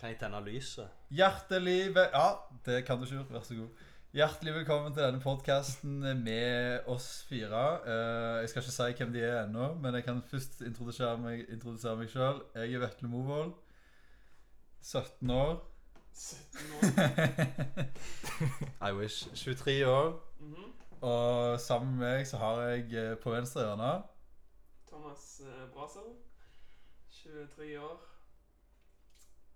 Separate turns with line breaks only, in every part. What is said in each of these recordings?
Kan jeg tenne lyset?
Hjertelig vel... Ja, det kan du, Sjur. Vær så god. Hjertelig velkommen til denne podkasten med oss fire. Eh, jeg skal ikke si hvem de er ennå, men jeg kan først introdusere meg, introdusere meg sjøl. Jeg er Vetle Movold. 17 år.
17 år.
I wish. 23 år.
Mhm.
Og sammen med meg så har jeg eh, på venstre hjørne
Thomas eh, Brasel. 23 år.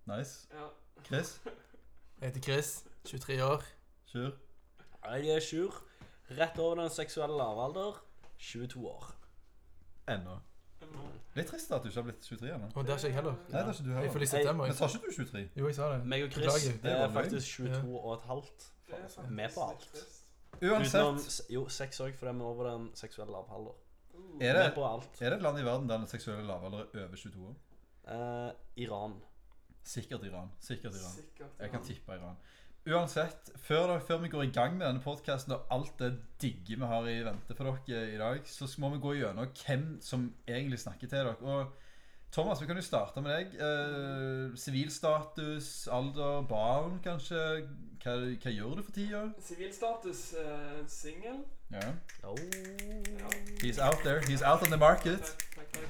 Nice.
Ja.
Chris.
Jeg heter Chris, 23 år.
Sjur.
Jeg er Sjur. Rett over den seksuelle lavalder. 22 år.
Ennå.
Mm.
Litt trist at du ikke har blitt 23 ennå.
Og der er ikke jeg heller.
Nei, det er ikke du
Jeg får
heller.
liksom litt september.
Men
Jeg.
sa ikke du 23?
Jo, jeg sa det.
Meg og Chris
Beklager.
Det
er
var løgn.
faktisk 22 og et halvt.
Det er faktisk
Med på
litt
alt.
trist.
Utenom
Uansett,
s- Jo, sex òg, for det er vi over den seksuelle lavalder.
Uh,
er det,
Med på alt.
er det et land i verden der den seksuelle lavalder er over 22 år?
Eh, Iran.
Sikkert Iran. Sikkert Iran.
Sikkert.
Jeg kan tippe Iran. Uansett, før, da, før vi går i gang med denne podkasten og alt det digge vi har i vente for dere i dag, så må vi gå gjennom hvem som egentlig snakker til dere. Og Thomas, vi kan jo starte med deg. Eh, Sivilstatus, alder, barn kanskje. Hva, hva gjør du for tida?
Sivilstatus uh, singel.
Ja.
Oh.
Ja.
He's out there. He's out on the market.
Takk, takk, takk.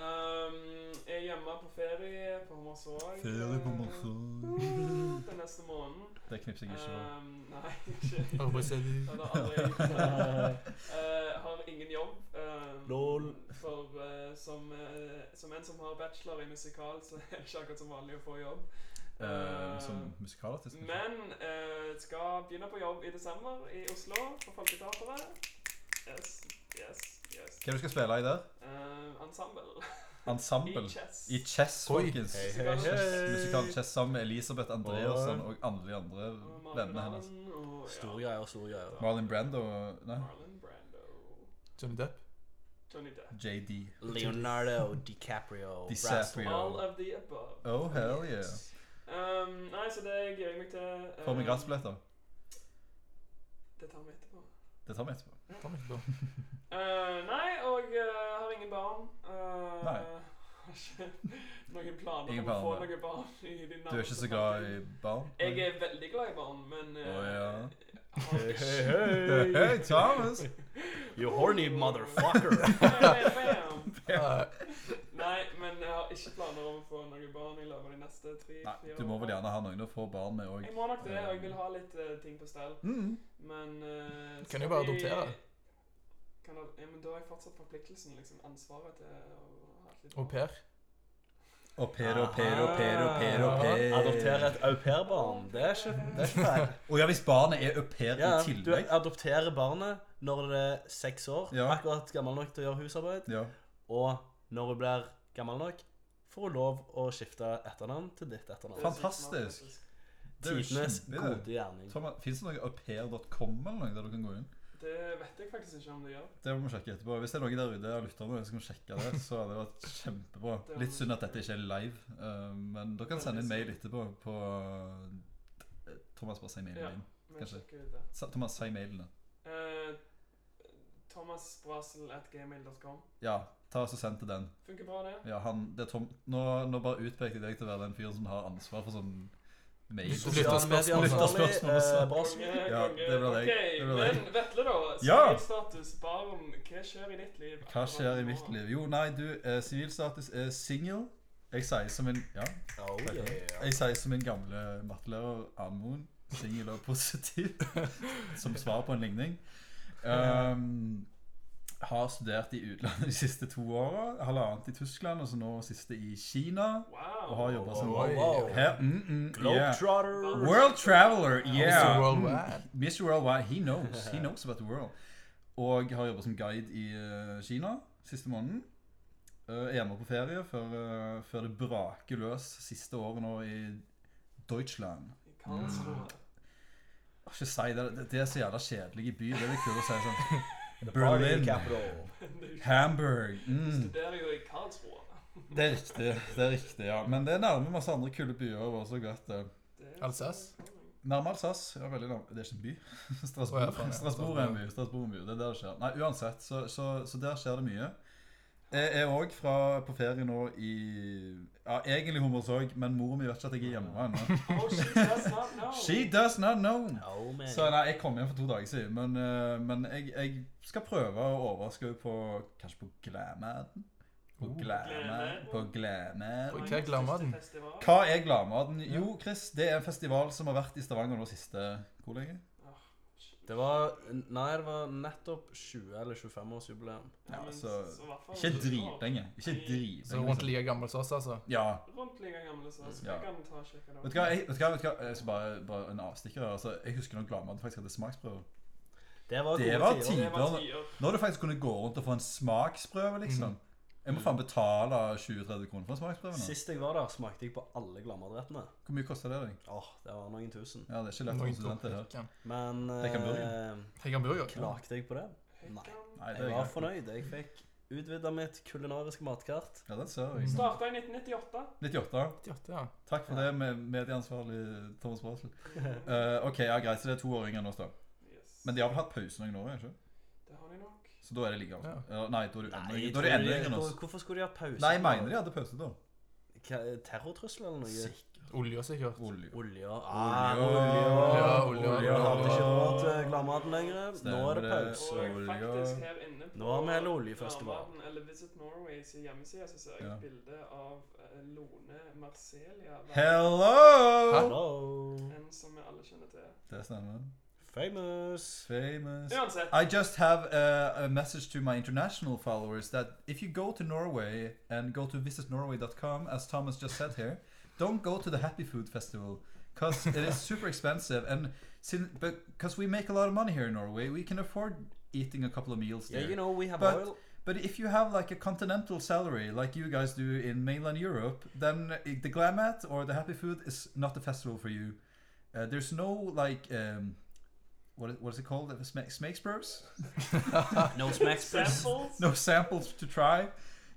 Um, jeg er hjemme på ferie på Hommersåk. eh, uh, Den neste måneden.
Det knipser jeg ikke for.
Um, nei, ikke
Arbeidsledig.
Jeg har aldri Eh, Har ingen jobb. eh,
Lol.
For eh, som, eh, som en som har bachelor i musikal, så er det ikke akkurat som vanlig å få jobb.
Eh, som musikalartist. kanskje?
Men eh, skal begynne på jobb i desember i Oslo, på Folketeatret. Yes, yes, yes.
Hva er det du skal spille i der?
Eh, ensemble.
Ensemble?
I chess.
I chess,
Oi.
folkens.
Hei,
hei, hei.
Musikal chess sammen med Elisabeth Andreassen og alle de andre
Og Marlon
vennene hennes.
Brando, og,
Store
ja,
greier, store greier.
Marlon Brando og Nei,
Marlon Brando.
Johnny Depp.
Johnny Depp.
JD.
Leonardo DiCaprio.
DiCaprio.
All of the above.
Oh, hell yeah.
Um, nei, så det gleder jeg meg til. eh,
Får vi gratisbilletter?
Det tar vi etterpå.
Det tar vi etterpå.
Ta meg ikke på.
Eh, nei, og eh, har ingen barn. Eh,
Nei.
Har ikke noen planer
Ingen
om å få
planer.
noen barn. i din
Du er ikke så glad i barn?
Jeg er veldig glad i barn, men eh,
Å, ja.
har ikke-
Hei, Thomas!
You horny motherfucker.
Bam, bam.
Eh,
Nei, men jeg har ikke planer om å få noen barn i løpet av de neste
Nei,
tre-fire
du må vel gjerne ha noen å få barn med òg.
Jeg må nok det, og jeg vil ha litt eh, ting på stell.
Mm.
Men eh,
Kan
skal
jo bare
vi-
adoptere.
Kan da, ja, men da har jeg fortsatt forpliktelsen, liksom. Ansvaret til å ha et litt
Au pair.
Og per og per og per og per og per.
Adoptere et au pair-barn. Det er ikke, det er ikke feil.
Å ja, hvis barnet er au pair
Ja,
i
du
tillegg?
adopterer barnet når det er seks år,
Ja.
akkurat gammel nok til å gjøre husarbeid.
Ja.
Og når hun blir gammel nok, får hun lov å skifte etternavn til ditt
Det
etternavn.
er sykt
Fantastisk.
fantastisk.
Det er jo
Tidenes
kjempeidé.
gode gjerning.
Thomas, Fins det noe aupair.com eller noe der du kan gå inn?
Det vet jeg faktisk ikke om det gjør.
Det må vi sjekke etterpå. Hvis det er noen der ute av lytterne som kan sjekke det, så hadde det vært kjempebra.
Det hadde
Litt synd at
vært
dette ikke er live, eh, men dere kan sende inn mail etterpå på eh, Thomas, bare si mailen
Ja.
din.
Men
Kanskje.
sjekk ut det.
Sa- Thomas, si mailene.
Eh, Thomasbrasel.gmail.com.
Ja, ta oss og send til den.
Funker bra, det.
Ja, han, det er Tom, nå, nå bare utpekte jeg deg til å være den fyren som har ansvar for sånn mail.
Lytt- lytt- lytterspørsmål.
Lytterspørsmål, altså.
Brasil.
Konge,
Ja,
konge.
det blir deg.
Ok,
Det blir deg.
Men Vetle, da.
Ja.
Sivilstatus, barn. Hva skjer i ditt liv?
Hva skjer i mitt liv? Jo, nei, du, eh, sivilstatus er singel. Jeg sier som en Ja.
Oh, yeah.
Jeg sier som min gamle mattelærer Amon, singel og positiv, som svar på en ligning. Um, har studert i utlandet de siste to åra. Halvannet i Tyskland, og så nå siste i Kina. Og
Wow.
har jobba som
Oi.
Her- mm, mm, yeah.
Globetrotter.
World traveler, yeah.
Mr.
Mm.
Worldwide.
Mr. Worldwide, he knows. He knows about the world. Og har jobba som guide i eh, Kina siste måneden. Uh, er hjemme på ferie før, eh, før det braker løs siste året nå i Deutschland.
I Karlsruhe.
Mm. Åh, Ikke si det. Det- Det er så jævla kjedelig i by. Det er litt kult å si sånn
Berlin.
Berlin, Hamburg mm.
Studerer jo i Karlsruhe.
Det er riktig, det er riktig, ja. Men det er nærme masse andre kule byer også. godt eh, det.
Det er-
Alsass.
Nærme Alsass. Ja, veldig nærme. Det er ikke en by.
Å, ja,
Strasbourg,
faen, ja.
Strasbourg er en by. Strasbourg er en by. Det er der det skjer. Nei, uansett, så, så, så der skjer det mye. Jeg er òg på ferie nå i Ja, egentlig Hummersåk, men mora mi vet ikke at jeg er hjemme ennå.
Oh, she does not know.
She does not know!
Oh, man.
Så nei, jeg kom hjem for to dager siden, men, eh, men jeg, jeg skal prøve å overraske henne på Kanskje på Glamaden? På
Oh.
Glamaden? På Glamaden?
Oi. Hva er Glamaden?
Festival.
Hva er Glamaden? Jo, Chris, det er en festival som har vært i Stavanger nå siste Hvor lenge?
Det var Nei, det var nettopp 20- eller 25-årsjubileum.
Ja,
men
så-
i hvert fall-
Ikke dritlenge. Ikke
Så rundt
dritlenge.
like gammel som oss, altså.
Ja.
Rundt like gamle, så så
Ja.
jeg kan ta og sjekke det.
Vet du hva, jeg, vet du hva, vet du hva? Jeg skal bare, bare en avstikker. her, Altså, jeg husker når Glamaden faktisk hadde smaksprøve.
Det var,
Det
gode
var
tider.
tid.
Det var tiår.
Nå har du faktisk kunnet gå rundt og få en smaksprøve, liksom.
Mhm.
Jeg må faen betale 20-30 kroner for en smaksprøve. nå.
Sist jeg var der, smakte jeg på alle glamadrettene.
Hvor mye koster det deg?
Åh, det var noen tusen.
Ja, det er ikke lett for
Noen
studenter her.
tok
Men
Det kan
eh,
Heggenburger.
klagde jeg på det? Nei.
Høykamp.
Nei, det
Jeg
er
var
greit.
fornøyd. Jeg fikk utvida mitt kulinariske matkart.
Ja, den ser jeg.
Starta i 1998.
98.
Ja, det er.
Takk for det, med medieansvarlig Thomas Brasel. ok, ja, greit, så det er to år yngre enn oss, da.
Yes.
Men de har vel hatt pause noen år, ikke?
Det har de nok.
Så da er det like gammelt. Ja, Nei, da er du enda
Nei,
yngre- da er du
tror
enda
de-
yngre enn oss.
hvor- Hvorfor skulle de ha pause?
Nei, jeg mener de hadde pause da.
Hva- Terrortrussel eller noe?
Olje, sikkert.
Olje.
Olje. Ah,
Olje.
Ja,
olje.
olje.
Olje hadde ikke råd til gladmaten lenger. Nå er det
Stemmer det.
pause.
Og jeg
Olje.
faktisk her inne på
Nå har vi hele oljefestival.
Dramaten, Eller Visit Norway sin hjemmeside så ser jeg
Ja.
et bilde av eh, Lone Marcelia. være
Hello!
Hello.
En som vi alle kjenner til.
Det stemmer.
Famous.
Famous.
Uansett.
I just have a, a message to my international followers that if you go to Norway and go to visitnorway.com, as Thomas just said here, don't go to the Happy Food Festival because it is super expensive. And since because we make a lot of money here in Norway, we can afford eating a couple of meals
Yeah,
there.
you know we have
But-
oil.
But if you have like a continental salary, like you guys do in mainland Europe, then i- the Glamat or the Happy Food is not the festival for you. Uh, there's no like um, what is, what is it called? The sma- Smakesprobes?
No smacks, please.
Samples.
No samples to try.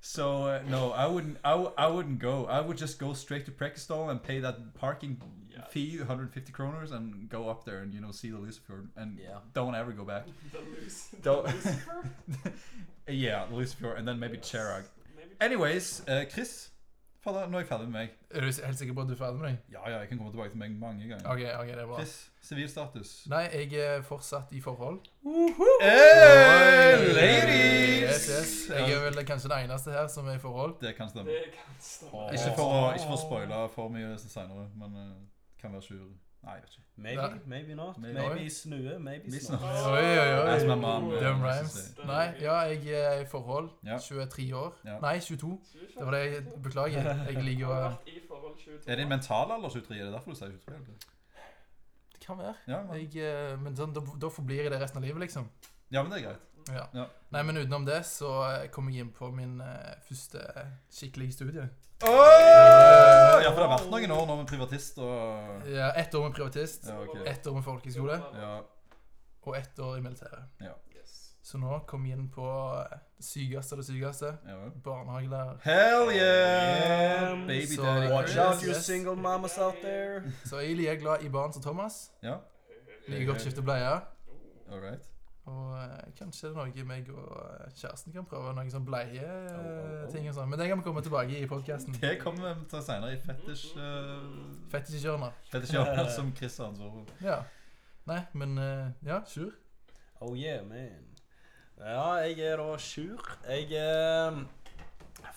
So uh, no, I wouldn't. I, w- I wouldn't go. I would just go straight to Prekestol and pay that parking
Yeah.
fee, 150 kroners, and go up there and you know see the Lucifer and
Yeah.
don't ever go back.
The Luc- the
Don't-
Lucifer.
Yeah, Lucifer, and then maybe
Yes.
Cherag.
Maybe-
Anyways, eh, Chris. Fader, nå er jeg ferdig med meg.
Er du helt sikker på at du er ferdig med deg?
Ja, ja, jeg kan komme tilbake til meg mange ganger.
Ok, ok, det er bra.
Chris, sivilstatus.
Nei, jeg er fortsatt i forhold.
Hey,
Oi.
ladies!
Yes, yes. Jeg er vel kanskje den eneste her som er i forhold.
Det kan stemme.
Det kan stemme.
Ikke for å, ikke for å spoile for mye senere, men eh, kan være sur. Nei, jeg vet ikke.
Maybe, maybe not.
Maybe.
Maybe snue, maybe
Vi
snore.
snakker.
Oi, oi, oi.
As my mom, eh, used
Damn
to
rhymes.
say.
Nei, ja, jeg er i forhold.
Ja.
23 år.
Ja.
Nei, 22.
Det
Det var det jeg Beklager. Jeg ligger
har
og
vært i forhold 22
Er din
år.
mentalaler 23? Er det derfor du sier 23? eller?
Det kan være.
Ja, men,
Jeg, eh, men sånn, da, da forblir jeg det resten av livet, liksom.
ja, men det er greit.
Ja.
Ja.
Nei, men utenom det så eh, kom jeg inn på min eh, første skikkelige studie.
Åh! Ja, for det har vært noen år nå med privatist og
Ja, ett år med privatist,
Ja, ok.
ett år med folkehøyskole
Ja.
og ett år i militæret.
Yes.
Så nå kom jeg inn på eh, det sykeste av det sykeste.
ja. vel.
Barnehagelærer.
Hell yeah!
Yeah.
Baby
Så-
daddy.
Watch
Chris.
out, you
Yes.
single mamas out there.
Så jeg er like glad i barn som Thomas.
Ja,
Liker godt å skifte bleie.
all right.
Og eh, kanskje det er noe meg og eh, kjæresten kan prøve. Noen
oh,
sånn
oh.
bleieting og sånn. Men det kan vi komme tilbake i podkasten.
Det kommer vi til senere i fetish... eh,
Fetisjørner.
Fetisjørner som Chris har ansvar for.
Ja. Nei, men eh, ja, sure.
Oh yeah, man. Ja, jeg er da Sjur. Jeg er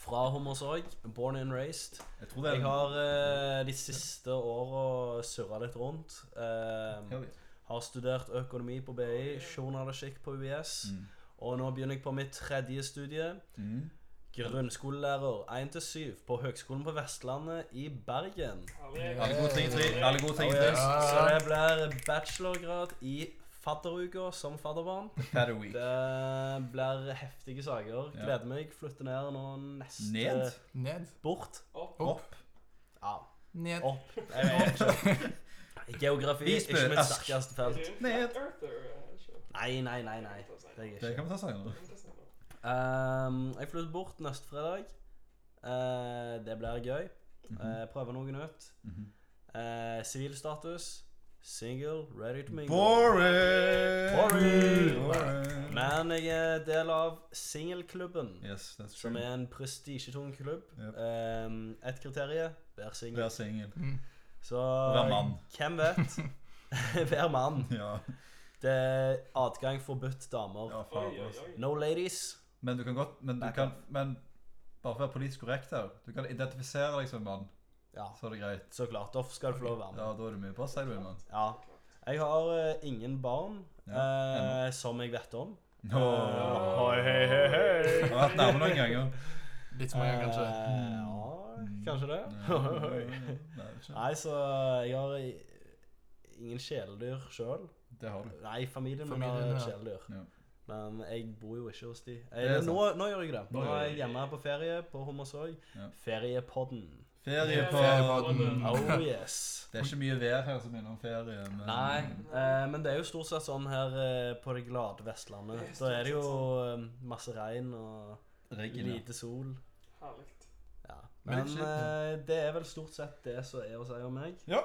fra Hummersåk. Born and raised.
Jeg tror det er
Jeg har eh, de siste åra surra litt rundt. Eh,
Hell yeah.
har studert økonomi på BI, journalistikk på UiS.
Mm.
Og nå begynner jeg på mitt tredje studie.
Mm.
Grunnskolelærer 1-7 på Høgskolen på Vestlandet i Bergen.
Alle gode ting i tre. Alle gode ting i tre.
Oh, yeah.
Så det blir bachelorgrad i fadderuka som fadderbarn.
Fatter week.
Det blir heftige saker.
Ja.
Gleder meg. Flytter ned nå neste
Ned?
Ned.
Bort.
Opp.
Opp?
Ja,
Ned.
opp. Jeg vet ikke. Geografi er ikke
Isbjørn,
mitt
Ask.
sterkeste felt.
Ned.
Nei, nei, nei. nei. Det er jeg
Det
ikke.
kan vi ta senere.
Ehm, jeg flytter bort neste fredag.
Mm.
Eh, det blir gøy. Eh, prøve Eh, noe nytt.
Mhm.
Eh, Sivilstatus Single, ready to mingle.
Boring!
Boring!
Boring.
Men jeg er del av singelklubben,
Yes, that's
som
true.
er en prestisjetung klubb.
Yep.
Um, Ett kriterium vær singel.
Vær singel.
Mm.
Så
Vær mann.
hvem vet? Hver mann.
Ja,
Det er adgang forbudt damer.
ja
Oi,
faen.
oi,
altså.
oi.
No ladies.
Men du kan godt Men du
Back
kan Men bare for å være politisk korrekt her Du kan identifisere deg som en mann,
Ja,
så er det greit.
så klart. Da skal du få lov å være med.
Ja, da er du mye Bare si du er en mann.
Ja. Jeg har eh, ingen barn
Ja,
eh, som jeg vet om.
Nå
Eh,
Hei, hei, hei, hei.
Jeg har vært nærme noen ganger.
Litt for mange, kanskje.
Eh, Ja,
Mm.
kanskje det.
Nei, Nei, ikke.
Nei, så jeg har i- ingen kjæledyr sjøl.
Det har du.
Nei, familien min
Familien,
har
ja.
kjæledyr.
Ja.
Men jeg bor jo ikke hos de.
er
Eh, Nå, nå gjør jeg det.
Nå
Nå
gjør
er
du
jeg hjemme på ferie på Hommersåg.
Ja.
Feriepodden.
Ferie på
Feriepodden.
Oh yes.
Det er ikke mye vær her som minner om ferie. Men...
Nei, eh, men det er jo stort sett sånn her eh, på det glade Vestlandet. Da er det jo eh, masse regn og
Regn, ja.
lite sol.
Herlig.
Ja.
Men
Men
ikke-
eh, det er vel stort sett det som er å si om meg.
Ja.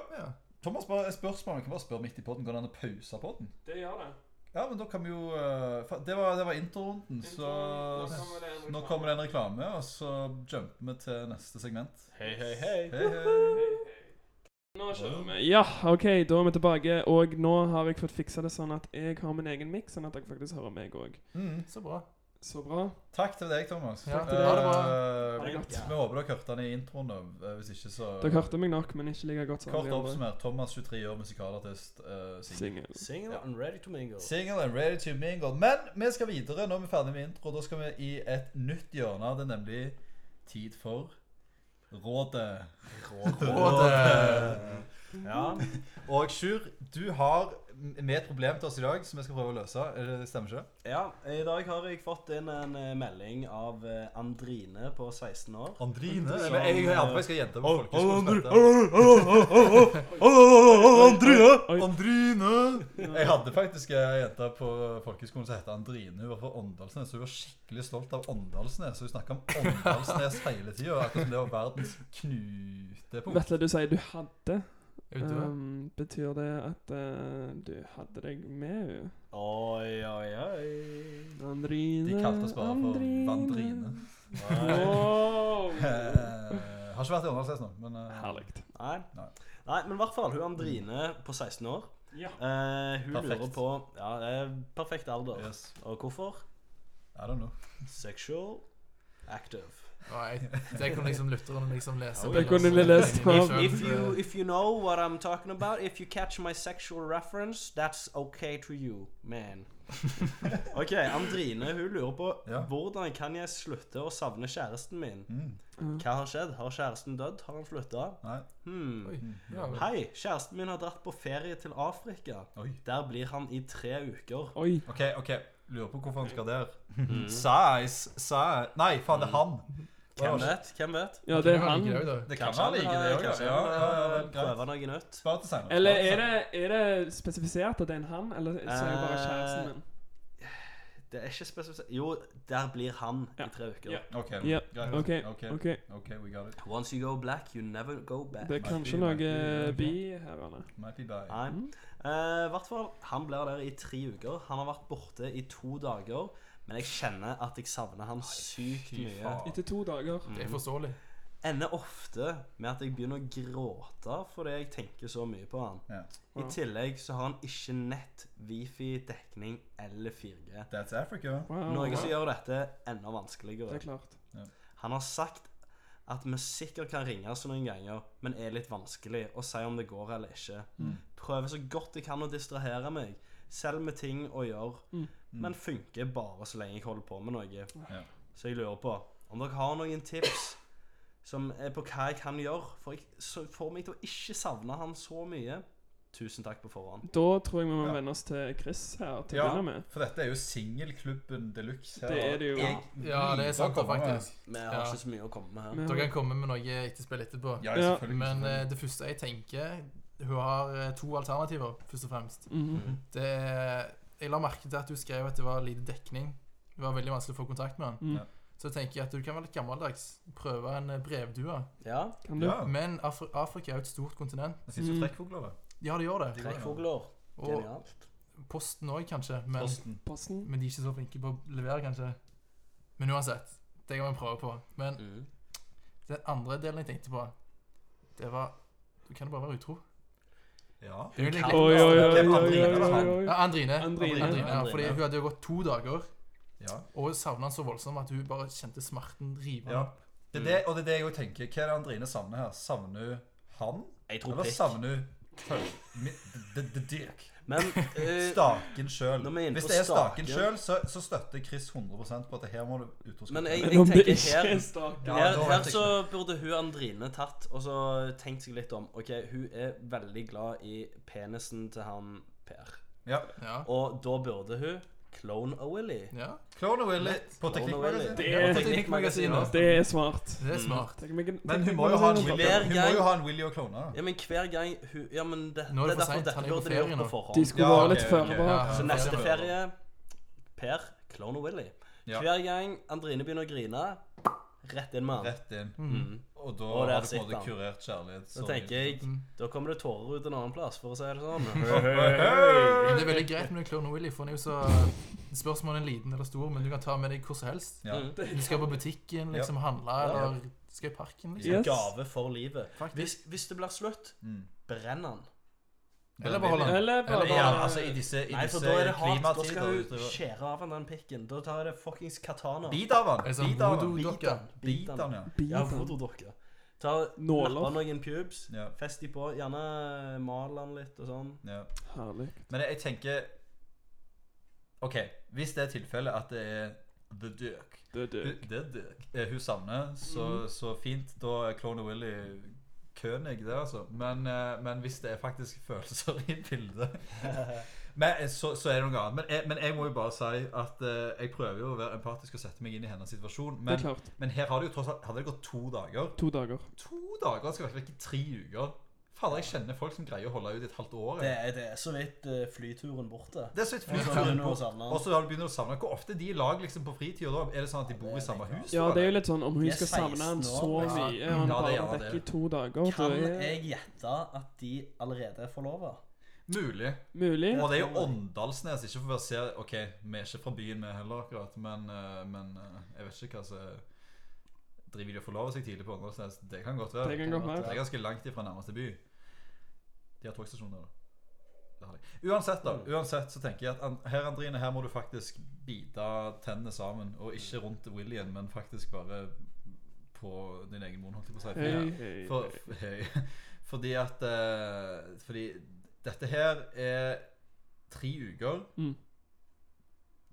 Thomas, bare et spørsmål. Jeg kan bare spørre midt i podden. Går det an å pause podden?
Det gjør det.
Ja, men da kan vi jo eh, fa- Det var, det var introrunden,
Nå
så
kommer det en reklame.
Nå kommer det en reklame, og så jumper vi til neste segment.
Hei, hei, hei.
Hei, hei.
Hei, hei. Nå kjører vi. Ja, OK, da er vi tilbake. Og nå har jeg fått fiksa det sånn at jeg har min egen miks, sånn at dere faktisk hører meg òg.
Mm.
Så bra.
Så bra.
Takk til deg, Thomas.
Ja,
Eh,
til deg. Ha det
Ha det godt.
Vi håper dere hørte den i introen. da. Eh, Hvis ikke, så
Dere hørte meg nok, men ikke like godt som
Kort
alle de andre.
oppsummert. Thomas, 23 år, musikalartist. Uh,
Singel.
Single and ready to mingle.
Single and ready to mingle. Men vi skal videre når vi er ferdig med intro. Da skal vi i et nytt hjørne. Det er nemlig tid for Rådet.
Rådet.
Ja.
Og Sjur, du har med et problem til oss i dag som vi skal prøve å løse. Eh, Det stemmer ikke?
ja. I dag har jeg fått inn en eh, melding av eh, Andrine på 16 år.
Andrine?
Som-
Eller, jeg, jeg, jeg, jeg skal gjette på folkeskolen.
Oi.
Andrine! Jeg hadde faktisk ei jente på folkeskolen som het Andrine. Hun var fra Åndalsnes, så hun var skikkelig stolt av Åndalsnes. Så hun snakka om Åndalsnes hele tida. Akkurat som det var verdens knutepunkt.
Vetle, du sier du hadde.
Er vi døde?
Um, betyr det at eh, du hadde deg med eh, henne?
Oi, oi, oi.
Vandrine
De kalte oss bare for Vandrine.
Wow.
Eh, har ikke vært i Åndalsnes nå, men eh,
Herlig.
Nei.
Nei.
Nei, men i hvert fall. Hun Andrine på 16 år.
Ja.
Eh, hun
Perfekt.
lurer på Ja, det er perfekt alder.
yes.
Og hvorfor?
I don't know.
Sexual active.
Nei, det kunne liksom lytterne liksom lese.
Det
kunne de lest, ja.
If you if you know what I'm talking about, if you catch my sexual reference, that's okay to you, man. Ok, Andrine hun lurer på
Ja.
hvordan kan jeg slutte å savne kjæresten min.
Mm.
Hva har skjedd? Har kjæresten dødd? Har han flytta?
Nei.
Hmm.
Oi. Ja, vel.
Hei, kjæresten min har dratt på ferie til Afrika.
Oi.
Der blir han i tre uker.
Oi.
OK, ok, lurer på hvorfor han skal der.
Mm.
Size, size Nei, faen, det er han.
Hvem vet? Hvem vet? eh,
Ja, Mm. det
Du
er
kan
han.
like det også, da.
Det kan være like det òg,
Kanskje
ja.
han,
ja, ja,
eh,
ja,
Prøver noe nytt.
Spar til senere.
Eller er det, er det spesifisert at det er en han, eller sier jeg bare kjæresten min?
Det er ikke spesifisert Jo, der blir han
Ja.
i tre uker.
Ja.
OK,
Ja,
Eh,
OK.
greit. OK,
ok
ok, we got it.
Once you go black, you never go back.
Det er kanskje noe eh, bi her, Anne.
Might be
Ah.
bye.
Nei. Eh, I hvert fall, han blir der i tre uker. Han har vært borte i to dager. Men jeg kjenner at jeg savner han sykt
fy
mye.
faen.
Etter to dager.
Mm.
Det er forståelig.
Ender ofte med at jeg begynner å gråte fordi jeg tenker så mye på han.
Ja.
I tillegg så har han ikke nett, wifi, dekning eller 4G.
That's Africa.
Wow.
Noe som
wow.
gjør dette enda
Det
vanskeligere.
er klart.
Han har sagt at vi sikkert kan ringes noen ganger, men er litt vanskelig å si om det går eller ikke. Prøver så godt jeg kan å distrahere meg, selv med ting å gjøre,
Mm.
men funker bare så lenge jeg holder på med noe.
Ja.
Så jeg lurer på om dere har noen tips som er på hva jeg kan gjøre, for jeg så får meg til å ikke savne han så mye. Tusen takk på forhånd.
Da tror jeg vi må
Ja.
venne oss til Chris her til å
Ja,
begynne med.
for dette er jo singelklubben de luxe. her.
Det er det jo.
Jeg
Mm.
Ja, det er sant, da,
liker å komme med-
faktisk.
Vi har
Ja.
ikke så mye å komme med her.
Men-
Dere kan komme med noe etterspill etterpå.
Ja,
Ja.
selvfølgelig.
Men eh, det første jeg tenker Hun har eh, to alternativer, først og fremst.
Mm.
Mhm.
Det er, jeg la merke til at du skrev at det var lite dekning. Det var veldig vanskelig å få kontakt med han.
Mm.
Ja.
Så tenker jeg at du kan være litt gammeldags. Prøve en eh, brevdue.
Ja,
Kan du?
ja.
Men Afri Afrika er jo et stort kontinent.
Mm.
Det fins jo trekkfugler, da.
Ja, det gjør det.
Trekkfugler.
Og
Genialt.
Posten òg, kanskje. Men,
Posten.
Posten.
men de er ikke så flinke på å levere, kanskje. Men uansett, det kan vi prøve på. Men
Mm.
den andre delen jeg tenkte på, det var Du kan jo bare være utro.
Ja.
Det er jo egentlig-
Oi, oi, oi, oi, oi, oi, oi.
Ja, Andrine.
Andrine.
ja,
Andrine.
fordi hun hadde jo gått to dager
ja.
og savna han så voldsomt at hun bare kjente smerten rive
ja.
Mm.
han opp.
Det er det, og det er det jeg òg tenker. Hva er det Andrine savner her? Savner hun han?
Jeg tror
Eller
pikk.
savner hun føl- mi- d- d- Dirk?
Men eh,
Staken sjøl.
Når vi er inne
Hvis
på
det er staken
staken-
sjøl, så, så støtter Chris 100 på at her må du ut hos
Men
kontoret.
jeg,
om
jeg
det
tenker
ikke
her
er
Ja,
her,
da vet
her
jeg
så burde hun Andrine tatt og så tenkt seg litt om. Ok, Hun er veldig glad i penisen til han Per.
Ja.
Ja.
Og da burde hun clone a Willy.
ja.
Clone Willy på
Clone a Willy.
Teknikkmagasinet.
Det er-
Teknikkmagasinet.
Det er smart.
Det er smart.
Tenk om jeg kan-
Men
tenk
hun
om
må jo
jeg
ha
kan-
en Willy,
Hver
hun må
gang-
jo ha en Willy å klone. da.
Ja, men hver gang hun Ja, men det,
Nå er
det
det
er
for
derfor
sent, han
dette
er på
burde vi
ferie
gjort
nå.
på forhånd.
De skulle
Ja,
være
ok,
litt
ok.
føre på.
Ja,
Så
ja,
neste
ja.
ferie Per, clone og Willy.
Ja.
Hver gang Andrine begynner å grine, rett inn med han.
Rett inn.
Mm.
Og da
Og der
har du på en
sitter
måte
han.
kurert kjærlighet.
Da tenker jeg
Mm.
Da kommer det tårer ut en annen plass, for å si det sånn. Mm.
Men det er veldig greit med Clone Willy, for han er jo så Spørs om han er liten eller stor, men du kan ta med deg hvor som helst.
Ja.
Mm.
Du skal på butikken, liksom handle, eller skal i parken, liksom.
Yes.
Gave for livet.
Faktisk.
Hvis, hvis det blir slutt,
Mm.
brenn han.
Eller bare holde han.
Eller bare
Eller, ja, altså i disse, i
Nei,
disse
for da er det hardt. Da
klimatider.
skal
vet
hun
du.
skjære av han den pikken. Da tar jeg det fuckings katana.
Bit av han.
Altså,
En sånn
Bit av han.
voodoo-dokke.
Bit av han, ja.
Ja,
Biten.
voodoo-dokker. Ta
Nåler.
Nappa noen pubes.
ja.
Fest de på. Gjerne eh, mal han litt og sånn.
ja.
Herlig.
Men jeg, jeg tenker OK, hvis det er tilfellet at det er The Dirk
Det er
Hun-
det.
Det er Dirk. Eh, Hun savner, så,
Mhm.
så fint. Da er Clone Willy König, det, altså. Men, eh, men hvis det er faktisk følelser i bildet men, eh, så, så er det noe annet. Men jeg, men jeg må jo bare si at eh, jeg prøver jo å være empatisk og sette meg inn i hennes situasjon.
Det er
Men,
klart.
men her har det jo tross alt hadde det gått to dager.
To dager.
To dager skal være ikke tre uker. Fader, jeg kjenner folk som greier å holde ut i et halvt år.
Det
jeg.
er, det er så vidt eh, flyturen borte.
Det er så vidt
Og så
flyturen
begynner hun å
bort.
savne
Og
han.
så har du begynt å savne Hvor ofte er de i lag liksom, på fritida da? Er det sånn at de bor i samme hus?
Ja,
da,
det er jo
eller?
litt sånn om hun
De er
skal savne
16
han så
år,
ja.
mye og han
Ja, det
bare
er
har
det.
vekk i to dager, så
Kan
er
jeg gjette at de allerede er forlova?
Mulig.
mulig.
Og det er jo Åndalsnes. Ikke for å se OK, vi er ikke fra byen, vi heller, akkurat. Men, eh, men eh, jeg vet ikke hva som Driver de og forlover seg tidlig på Åndalsnes? Det kan godt være.
Det kan godt
Det
være.
er ganske langt ifra nærmeste by. De har togstasjoner, da. Det har de. Uansett, da. Uansett så tenker jeg at an- her, Andrine, her må du faktisk bite tennene sammen. Og ikke rundt William, men faktisk bare på din egen munn, holdt jeg på å si.
Hei,
Fordi-
hei,
For,
hei.
hei. Fordi at eh, Fordi dette her er tre uker.
Mm.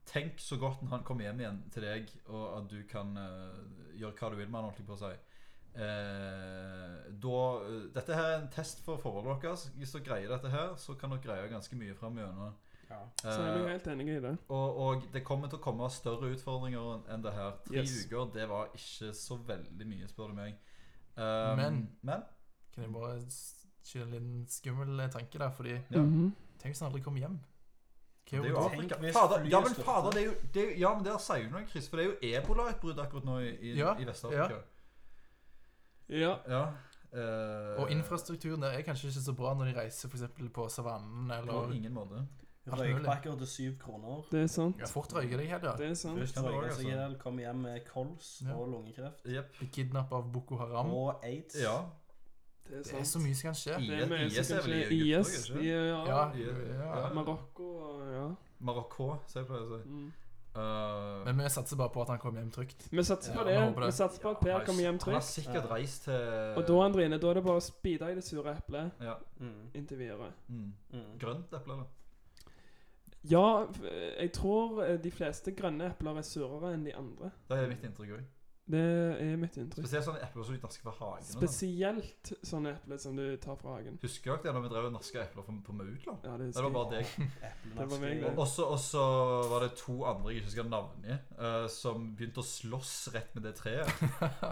Tenk så godt når han kommer hjem igjen til deg, og at du kan eh, gjøre hva du vil med han, holdt jeg på å si. Eh, da, eh, dette her er en test for forholdet deres. Hvis dere greier dette her, så kan dere greie ganske mye framover.
Ja.
Så er
eh,
jeg helt enig i det.
og, og det kommer til å komme større utfordringer enn- enn det her. Tre
Yes.
uker, det var ikke så veldig mye, spør du meg. Eh,
Men-
men
Kan jeg bare s- skyte en liten skummel tanke der, fordi
Ja.
Mhm.
Tenk hvis han aldri kommer hjem. Hva
det er jo
gjør du da?
Tenk
Afrika.
hvis
Fader,
flyet
ja, men
styrter.
fader, det er jo, det er, jo- ja, men der sier du noe, Chris. For det er jo ebolautbrudd akkurat nå i, i,
Ja,
i Vest-Afrika.
Ja.
Ja. eh,
Og infrastrukturen der er kanskje ikke så bra når de reiser for eksempel på savannen
På
eller
ingen måte.
Røykpakker til syv kroner.
Det er sant.
Ja, fort røyker de helt, ja.
Det er sant.
Først
Ja, det var
røyka
altså-
seg i hjel, kom hjem med kols
Ja.
og lungekreft.
Jepp.
Blir kidnappet av Boko Haram.
Og aids.
Ja.
Det er
Det er
sant.
så mye som kan skje.
I-
Det er mye
IS
som
er vel i
kanskje-
Egypt
IS,
også, ikke?
de er- ja.
Ja,
Ja,
ja.
ja.
Marokko og ja.
Marokko, som jeg pleier å si.
Mm.
Eh,
Men vi satser bare på at han kommer hjem trygt.
Vi satser på
Ja,
det.
vi håper det.
Vi satser på at Per
har-
kommer hjem
Han har
trygt.
sikkert
Ja.
reist til
Og da, Andrine, da er det bare å speede i det sure eplet
ja.
Mm,
inntil videre.
mm.
mm.
Grønt eple, eller?
Ja, f- jeg tror eh, de fleste grønne epler er surere enn de andre.
Det er mitt inntrykk òg.
Det er mitt inntrykk.
Spesielt sånne epler som de nasker fra hagen. og sånn.
Spesielt sånne epler som du tar fra hagen.
Husker dere det da vi drev og naska epler fra- på Maudland?
Ja, det
Det
husker
var
jeg.
bare deg.
Eplene
var meg,
skal-
det.
Og så og så var det to andre jeg ikke skal navngi, eh, som begynte å slåss rett med det treet.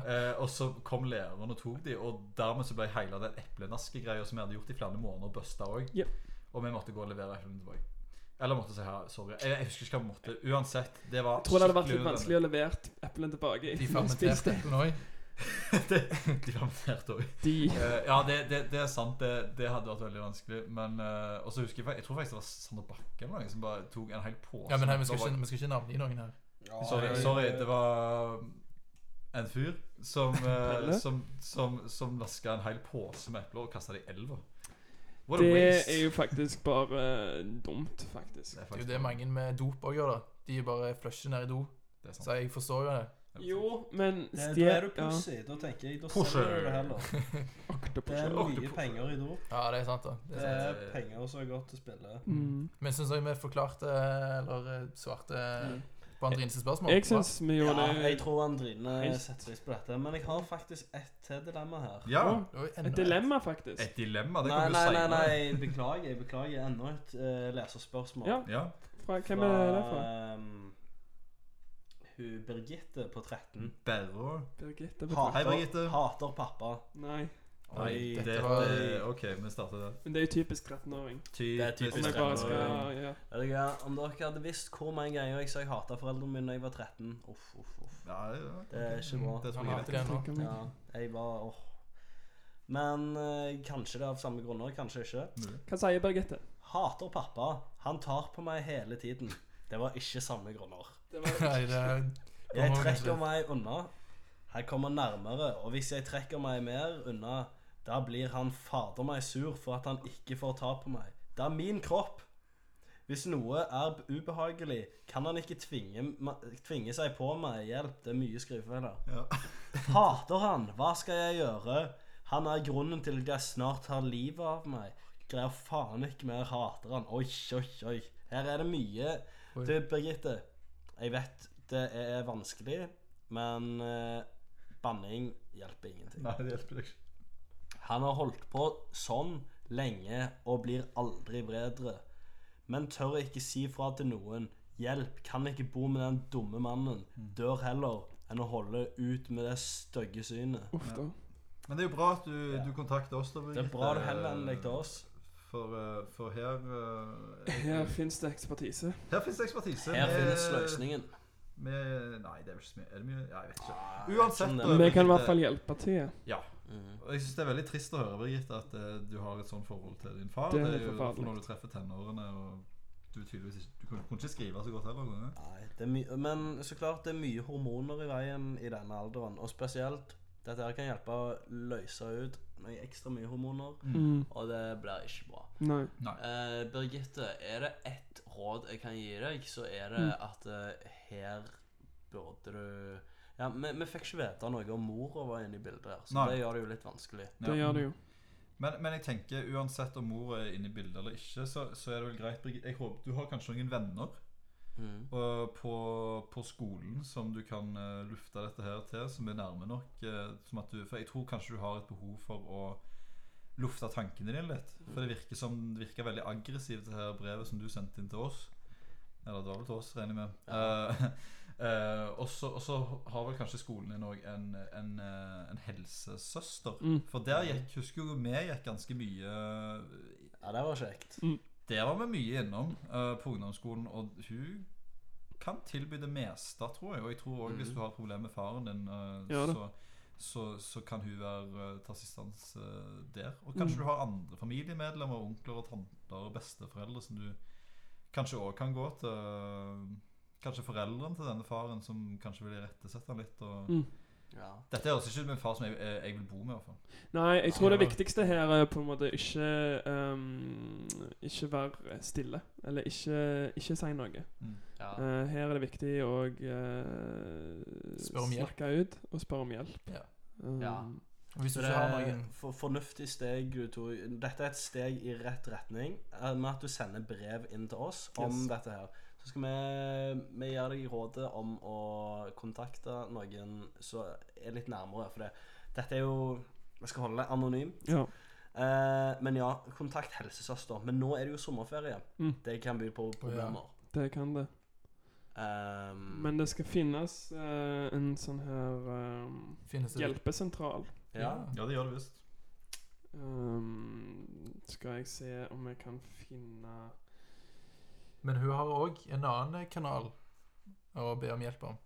Eh, og så kom læreren og tok de og dermed så ble hele den eplenaskegreia som vi hadde gjort i flere måneder, busta òg.
Yep.
Og vi måtte gå og levere eplene tilbake. Eller måtte si her, sorry. Jeg, jeg husker ikke hva vi måtte. Uansett, det var
Jeg tror det hadde vært
skikkelig
litt vanskelig å levere eplene tilbake.
De
etter man
fermenterte
spiste.
eplene òg.
det, de var imponert òg.
De
Eh, ja, det, det, det er sant. Det, det hadde vært veldig vanskelig. Men eh, også husker jeg, fa- jeg tror faktisk det var Sander Bakke eller noen som bare tok en hel påse.
Ja, men hei, vi skal
Da var-
ikke, vi skal ikke navngi noen her.
Sorry, sorry, det var um, en fyr som, eh,
Pelle?
som, som, som vaska en hel påse med epler og kasta det i elva. What a
Det
waste.
er jo faktisk bare eh, dumt, faktisk.
Det er
Det er
faktisk-
jo det mange med dop òg gjør, da. De bare flusher ned i do.
Det er sant.
Så jeg forstår jo det.
Jo, men
Det,
stjel-
da er du
ja.
pussy. Da tenker jeg, da
Pussy.
selger du det heller. Det er
Pussy.
mye penger i dop.
Ja, det er sant, da. Det
Det
er sant.
er
sant.
penger som har gått til spille.
Mm.
Men syns dere vi forklarte eller eh, svarte
Mm.
på Andrines spørsmål?
Jeg syns vi
Ja,
gjorde
jeg
det
tror Andrine
Helt-
setter pris på dette. Men jeg har faktisk ett til dilemma her.
Ja,
Å,
Det var jo enda
Et dilemma, faktisk.
et dilemma. Det
nei,
kommer
nei,
jo
nei,
seinere.
nei, beklager. Jeg beklager enda et eh, leserspørsmål.
Ja,
Ja.
fra, hvem er det fra?
ehm, hun Birgitte på
Mm.
13.
Berre
Birgitte? på
Hater,
Hei, Birgitte.
hater pappa.
Twitter. Nei,
Oi,
Oi,
dette
dette
var-
OK, vi starter der.
men det er jo typisk 13-åring.
Det er typisk
Om jeg bare skal ja.
Vet dere, om dere hadde visst hvor mange ganger jeg sa jeg hata foreldrene mine da jeg var 13 Uff, uff, uff.
Ja, ja.
Det er ikke bra.
Det tror
Han
jeg
hater det nå.
tenker
Ja,
meg.
jeg var åh. Men eh, kanskje det er av samme grunner, kanskje ikke.
Mulig.
Hva sier Birgitte?
Hater pappa. Han tar på meg hele tiden. Det var ikke samme grunner.
Det var
Nei, det er
Jeg
Kommer
trekker
kanskje.
meg unna. Han kommer nærmere, og hvis jeg trekker meg mer unna, da blir han fader meg sur for at han ikke får ta på meg. Det er min kropp. Hvis noe er ubehagelig, kan han ikke tvinge, ma- tvinge seg på meg. Hjelp, det er mye skrivefeiler.
Ja.
Hater han. Hva skal jeg gjøre? Han er grunnen til at jeg snart tar livet av meg. Greier faen ikke mer. Hater han. Oi, oi, oi. Her er det mye.
Oi.
Du, Birgitte. Jeg vet det er vanskelig, men eh, banning hjelper ingenting.
Nei, det hjelper deg ikke.
Han har holdt på sånn lenge og blir aldri bedre. Men tør ikke si fra til noen. Hjelp, kan ikke bo med den dumme mannen. Dør heller enn å holde ut med det stygge synet.
Uff, da.
Men det er jo bra at du, du kontakter oss. da,
Det er
Birgitte.
bra du henvender deg til oss.
For, eh, for her eh,
Her fins det ekspertise.
Her finnes det ekspertise.
Her
Vi-
finnes løsningen.
vi- nei, det er vel ikke så mye. Er det mye? Ja, jeg vet ikke.
Nei,
Uansett,
sånn er
da,
det.
Vi kan i
Birgitte.
hvert fall hjelpe til.
Ja.
Mhm.
Og jeg synes Det er veldig trist å høre Birgitte, at eh, du har et sånt forhold til din far.
Det er
jo
forferdelig.
for når du treffer tenårene og du tydeligvis ikke Du kunne kunne ikke skrive så godt heller. kunne du?
Nei, det er mye- Men så klart det er mye hormoner i veien i denne alderen. Og spesielt dette her kan hjelpe å løse ut noe ekstra mye hormoner,
Mm.
og det blir ikke bra.
Nei.
Eh, Birgitte, er det ett råd jeg kan gi deg, så er det at eh, her burde du Ja, vi, vi fikk ikke vite noe om mora var inne i bildet her, så
Nei.
det gjør det jo litt vanskelig.
Det
Ja.
gjør det jo.
Men, men jeg tenker uansett om mor er inne i bildet eller ikke, så, så er det vel greit. Birgitte. Jeg håper, du har kanskje noen venner
Mm.
og på, på skolen som du kan eh, lufte dette her til, som er nærme nok. eh, som at du, for jeg tror kanskje du har et behov for å lufte tankene dine litt. For det virker, som, det virker veldig aggressivt, det her brevet som du sendte inn til oss. Eller det var vel til oss, regner jeg med. Eh, eh, og så og så har vel kanskje skolen din òg en, en, eh, en helsesøster.
Mm.
For der gikk, husker jo vi gikk ganske mye
Ja, det var kjekt.
Der var vi mye innom eh, på ungdomsskolen, og hun kan tilby det meste, tror jeg. Og jeg tror òg hvis du har problemer med faren din, eh,
Mhm. Ja da.
så, så, så kan hun være eh, til assistanse der. Og
Mhm.
kanskje du har andre familiemedlemmer, onkler og tanter og besteforeldre som du kanskje òg kan gå til. eh, Kanskje foreldrene til denne faren som kanskje vil irettesette han litt. Og...
Mm.
Ja.
Dette høres ikke ut som en far som jeg, jeg jeg vil bo med, i hvert fall.
Nei, jeg tror det
Ja.
viktigste her er på en måte ikke ehm, Ikke være stille. Eller ikke, ikke si noe.
Mm.
Ja.
Eh, her er det viktig å eh,
Spør om hjelp.
snakke ut og spørre om hjelp.
Ja.
Um,
Ja.
Hvis
Så
du ikke
det
har
er
noen
for, fornuftig steg du to Dette er et steg i rett retning eh, med at du sender brev inn til oss om
Yes.
dette her. Så skal vi, vi gjøre deg rådet om å kontakte noen som er litt nærmere, for det, dette er jo Jeg skal holde deg anonym.
ja.
Eh, men ja, kontakt helsesøster. Men nå er det jo sommerferie.
Mm.
Det kan by på problemer.
Det kan det.
Ehm,
Men det skal finnes eh, en sånn her ehm,
finnes det
hjelpesentral.
ja.
Ja, det gjør det visst.
Ehm, skal jeg se om jeg kan finne
Men hun har òg en annen kanal å be om hjelp om.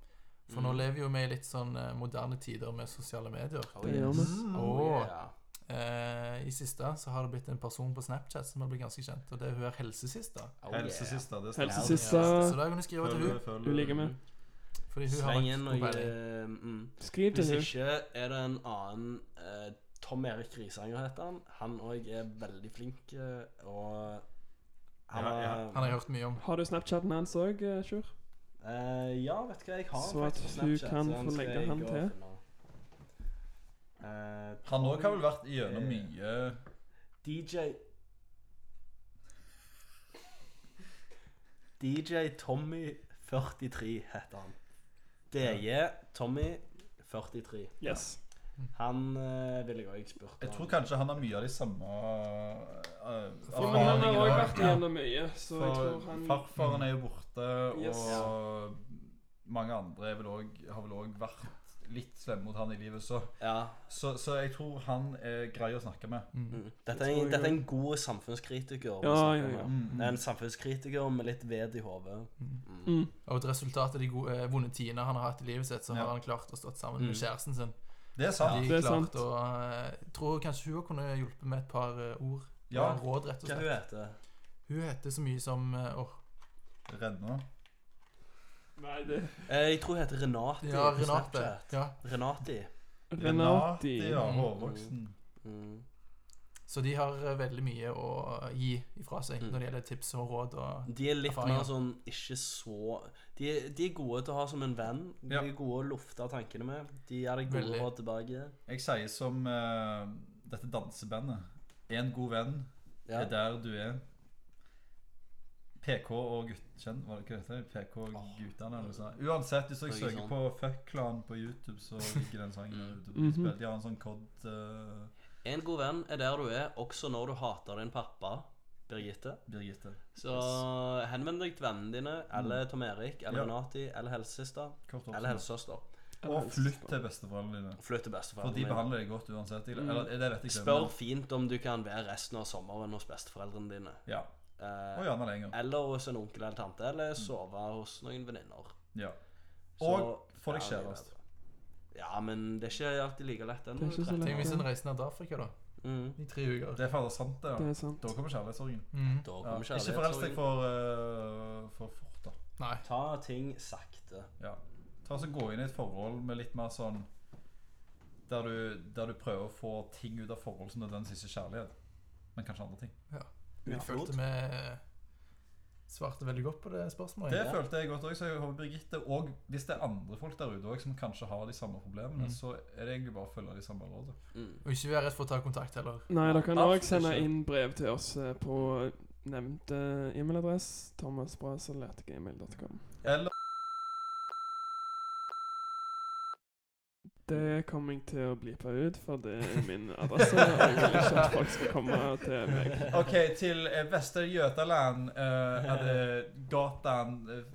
For
Mm.
nå lever jo vi i litt sånn eh, moderne tider med sosiale medier.
Oh,
Det gjør vi.
Og
yeah.
eh, i siste så har det blitt en person på Snapchat som har blitt ganske kjent, og det er hun er helsesista.
Oh, yeah.
Helsesista. det stemmer.
Helsesista.
Så da kan du skrive til hun
Følg-
Hun ligger med.
Fordi hun har
Sleng inn
vært
noe
påbeilig.
eh, mm.
Skriv til
Hvis
henne.
ikke er det en annen eh, Tom Erik Risanger heter han. Han òg er veldig flink, eh, og han
Ja,
er
ja.
Han har jeg hørt mye om.
Har du Snapchaten hans òg, Sjur?
Eh, ja, vet du hva, jeg har
Så
han
at
faktisk på
du
Snapchat,
kan
så han
få
skal
legge
jeg
han
gå og
til.
finne. Eh,
Han òg har vel vært
Eh.
igjennom mye
DJ DJ Tommy43 heter han. DJ Tommy43.
Yes.
Han eh, ville jeg òg spurt
Jeg tror
om.
kanskje han har mye av de samme eh,
Ja, men han har
erfaringene.
òg vært
Ja.
igjennom mye, så jeg
For
tror han
farfaren er jo borte,
Yes.
og mange andre er vel også, har vel òg vært litt slemme mot han i livet, så.
Ja.
så Så jeg tror han er grei å snakke med.
Mm.
Mm. Dette, er
tror
en,
jeg
dette er
også.
en god samfunnskritiker. vi
Ja,
snakker
ja,
om
ja.
her.
Mm.
Det er en samfunnskritiker med litt ved i hodet. Mm.
mm.
Og et resultat av de gode, eh, vonde tidene han har hatt i livet sitt, så
Ja.
har han klart å stå sammen med
Mm.
kjæresten sin.
Det er sant.
De
Det er sant.
klarte å eh, Tror kanskje hun kunne hjulpet med et par eh, ord.
Ja.
Par Råd, rett
Hva
og slett.
hun heter
Hun heter så mye som eh, åh,
Redna.
Nei, det
eh, Jeg tror hun heter Renati.
Ja,
på
Renate.
Snapchat.
Ja.
Renati.
Renati.
Ja,
Mm.
hårvoksen.
Mm.
Så de har eh, veldig mye å eh, gi ifra seg
Mm.
når det gjelder tips og råd.
Mm.
Og,
De er litt
Erfaringer.
mer sånn ikke så de, er- de er gode til å ha som en venn. De
Ja.
er gode å lufte tankene med. De gir deg gode
Veldig.
råd tilbake.
Jeg sier som eh, dette dansebandet. En god venn
Ja.
er der du er. PK og guttkjenn, var det ikke det? det heter? PK og guttene eller noe sånt. Uansett, hvis dere
Noe
søker
sånt.
på Fuck Clan på YouTube, så ligger den sangen der ute. og blir
Mhm.
spilt. De har en sånn kod eh,
En god venn er der du er, også når du hater din pappa, Birgitte.
Birgitte.
Så henvend deg til vennene dine, eller Tom Erik, eller
Ja.
Renati, eller helsesøster.
Kort
Eller
oppsummert.
helsesøster.
Og flytt til besteforeldrene dine.
Flytt til
For de
besteforeldrene dine.
behandler deg godt uansett. Eller, eller det vet jeg
Mm.
ikke.
Spør
men-
fint om du kan være resten av sommeren hos besteforeldrene dine.
Ja.
Eh,
Og gjerne lenger.
Eller hos en onkel eller tante, eller sove hos noen venninner.
Ja.
Så-
Og få deg
Ja, det er
kjæreste.
bedre. Ja, men det er ikke alltid like lett
Det
ennå.
er ikke så
tenk
lett.
hvis
det.
en reiser ned til Afrika, da.
Mm.
I tre uker.
Det er fader sant, det.
Det
ja.
er sant.
Da kommer kjærlighetssorgen.
Mm.
Da
Ja.
kommer
Ikke forelsk deg
kjærlighetssorgen.
for, eh, for fort, da.
Nei.
Ta ting sakte.
Ja. Ta så Gå inn i et forhold med litt mer sånn der du, der du prøver å få ting ut av forhold som nødvendigvis ikke er kjærlighet, men kanskje andre ting.
Vi
Ja.
følte vi eh, svarte veldig godt på det spørsmålet.
Det
Ja.
følte jeg godt òg, så jeg håper Birgitte Og hvis det er andre folk der ute også som kanskje har de samme problemene,
Mm.
så er det egentlig bare å følge de samme rådene.
Mm.
Og ikke være redd for å ta kontakt heller.
Nei, dere kan
Absolutt
òg sende
ikke.
inn brev til oss eh, på nevnte e-mailadress. thomasbrasaletgmail.com.
Eller Mm.
Det kommer jeg til å blipe ut, for det er min adresse. Og jeg vil ikke at folk skal komme til meg.
OK, til eh, Vester-Götaland, eh, er det gatan eh,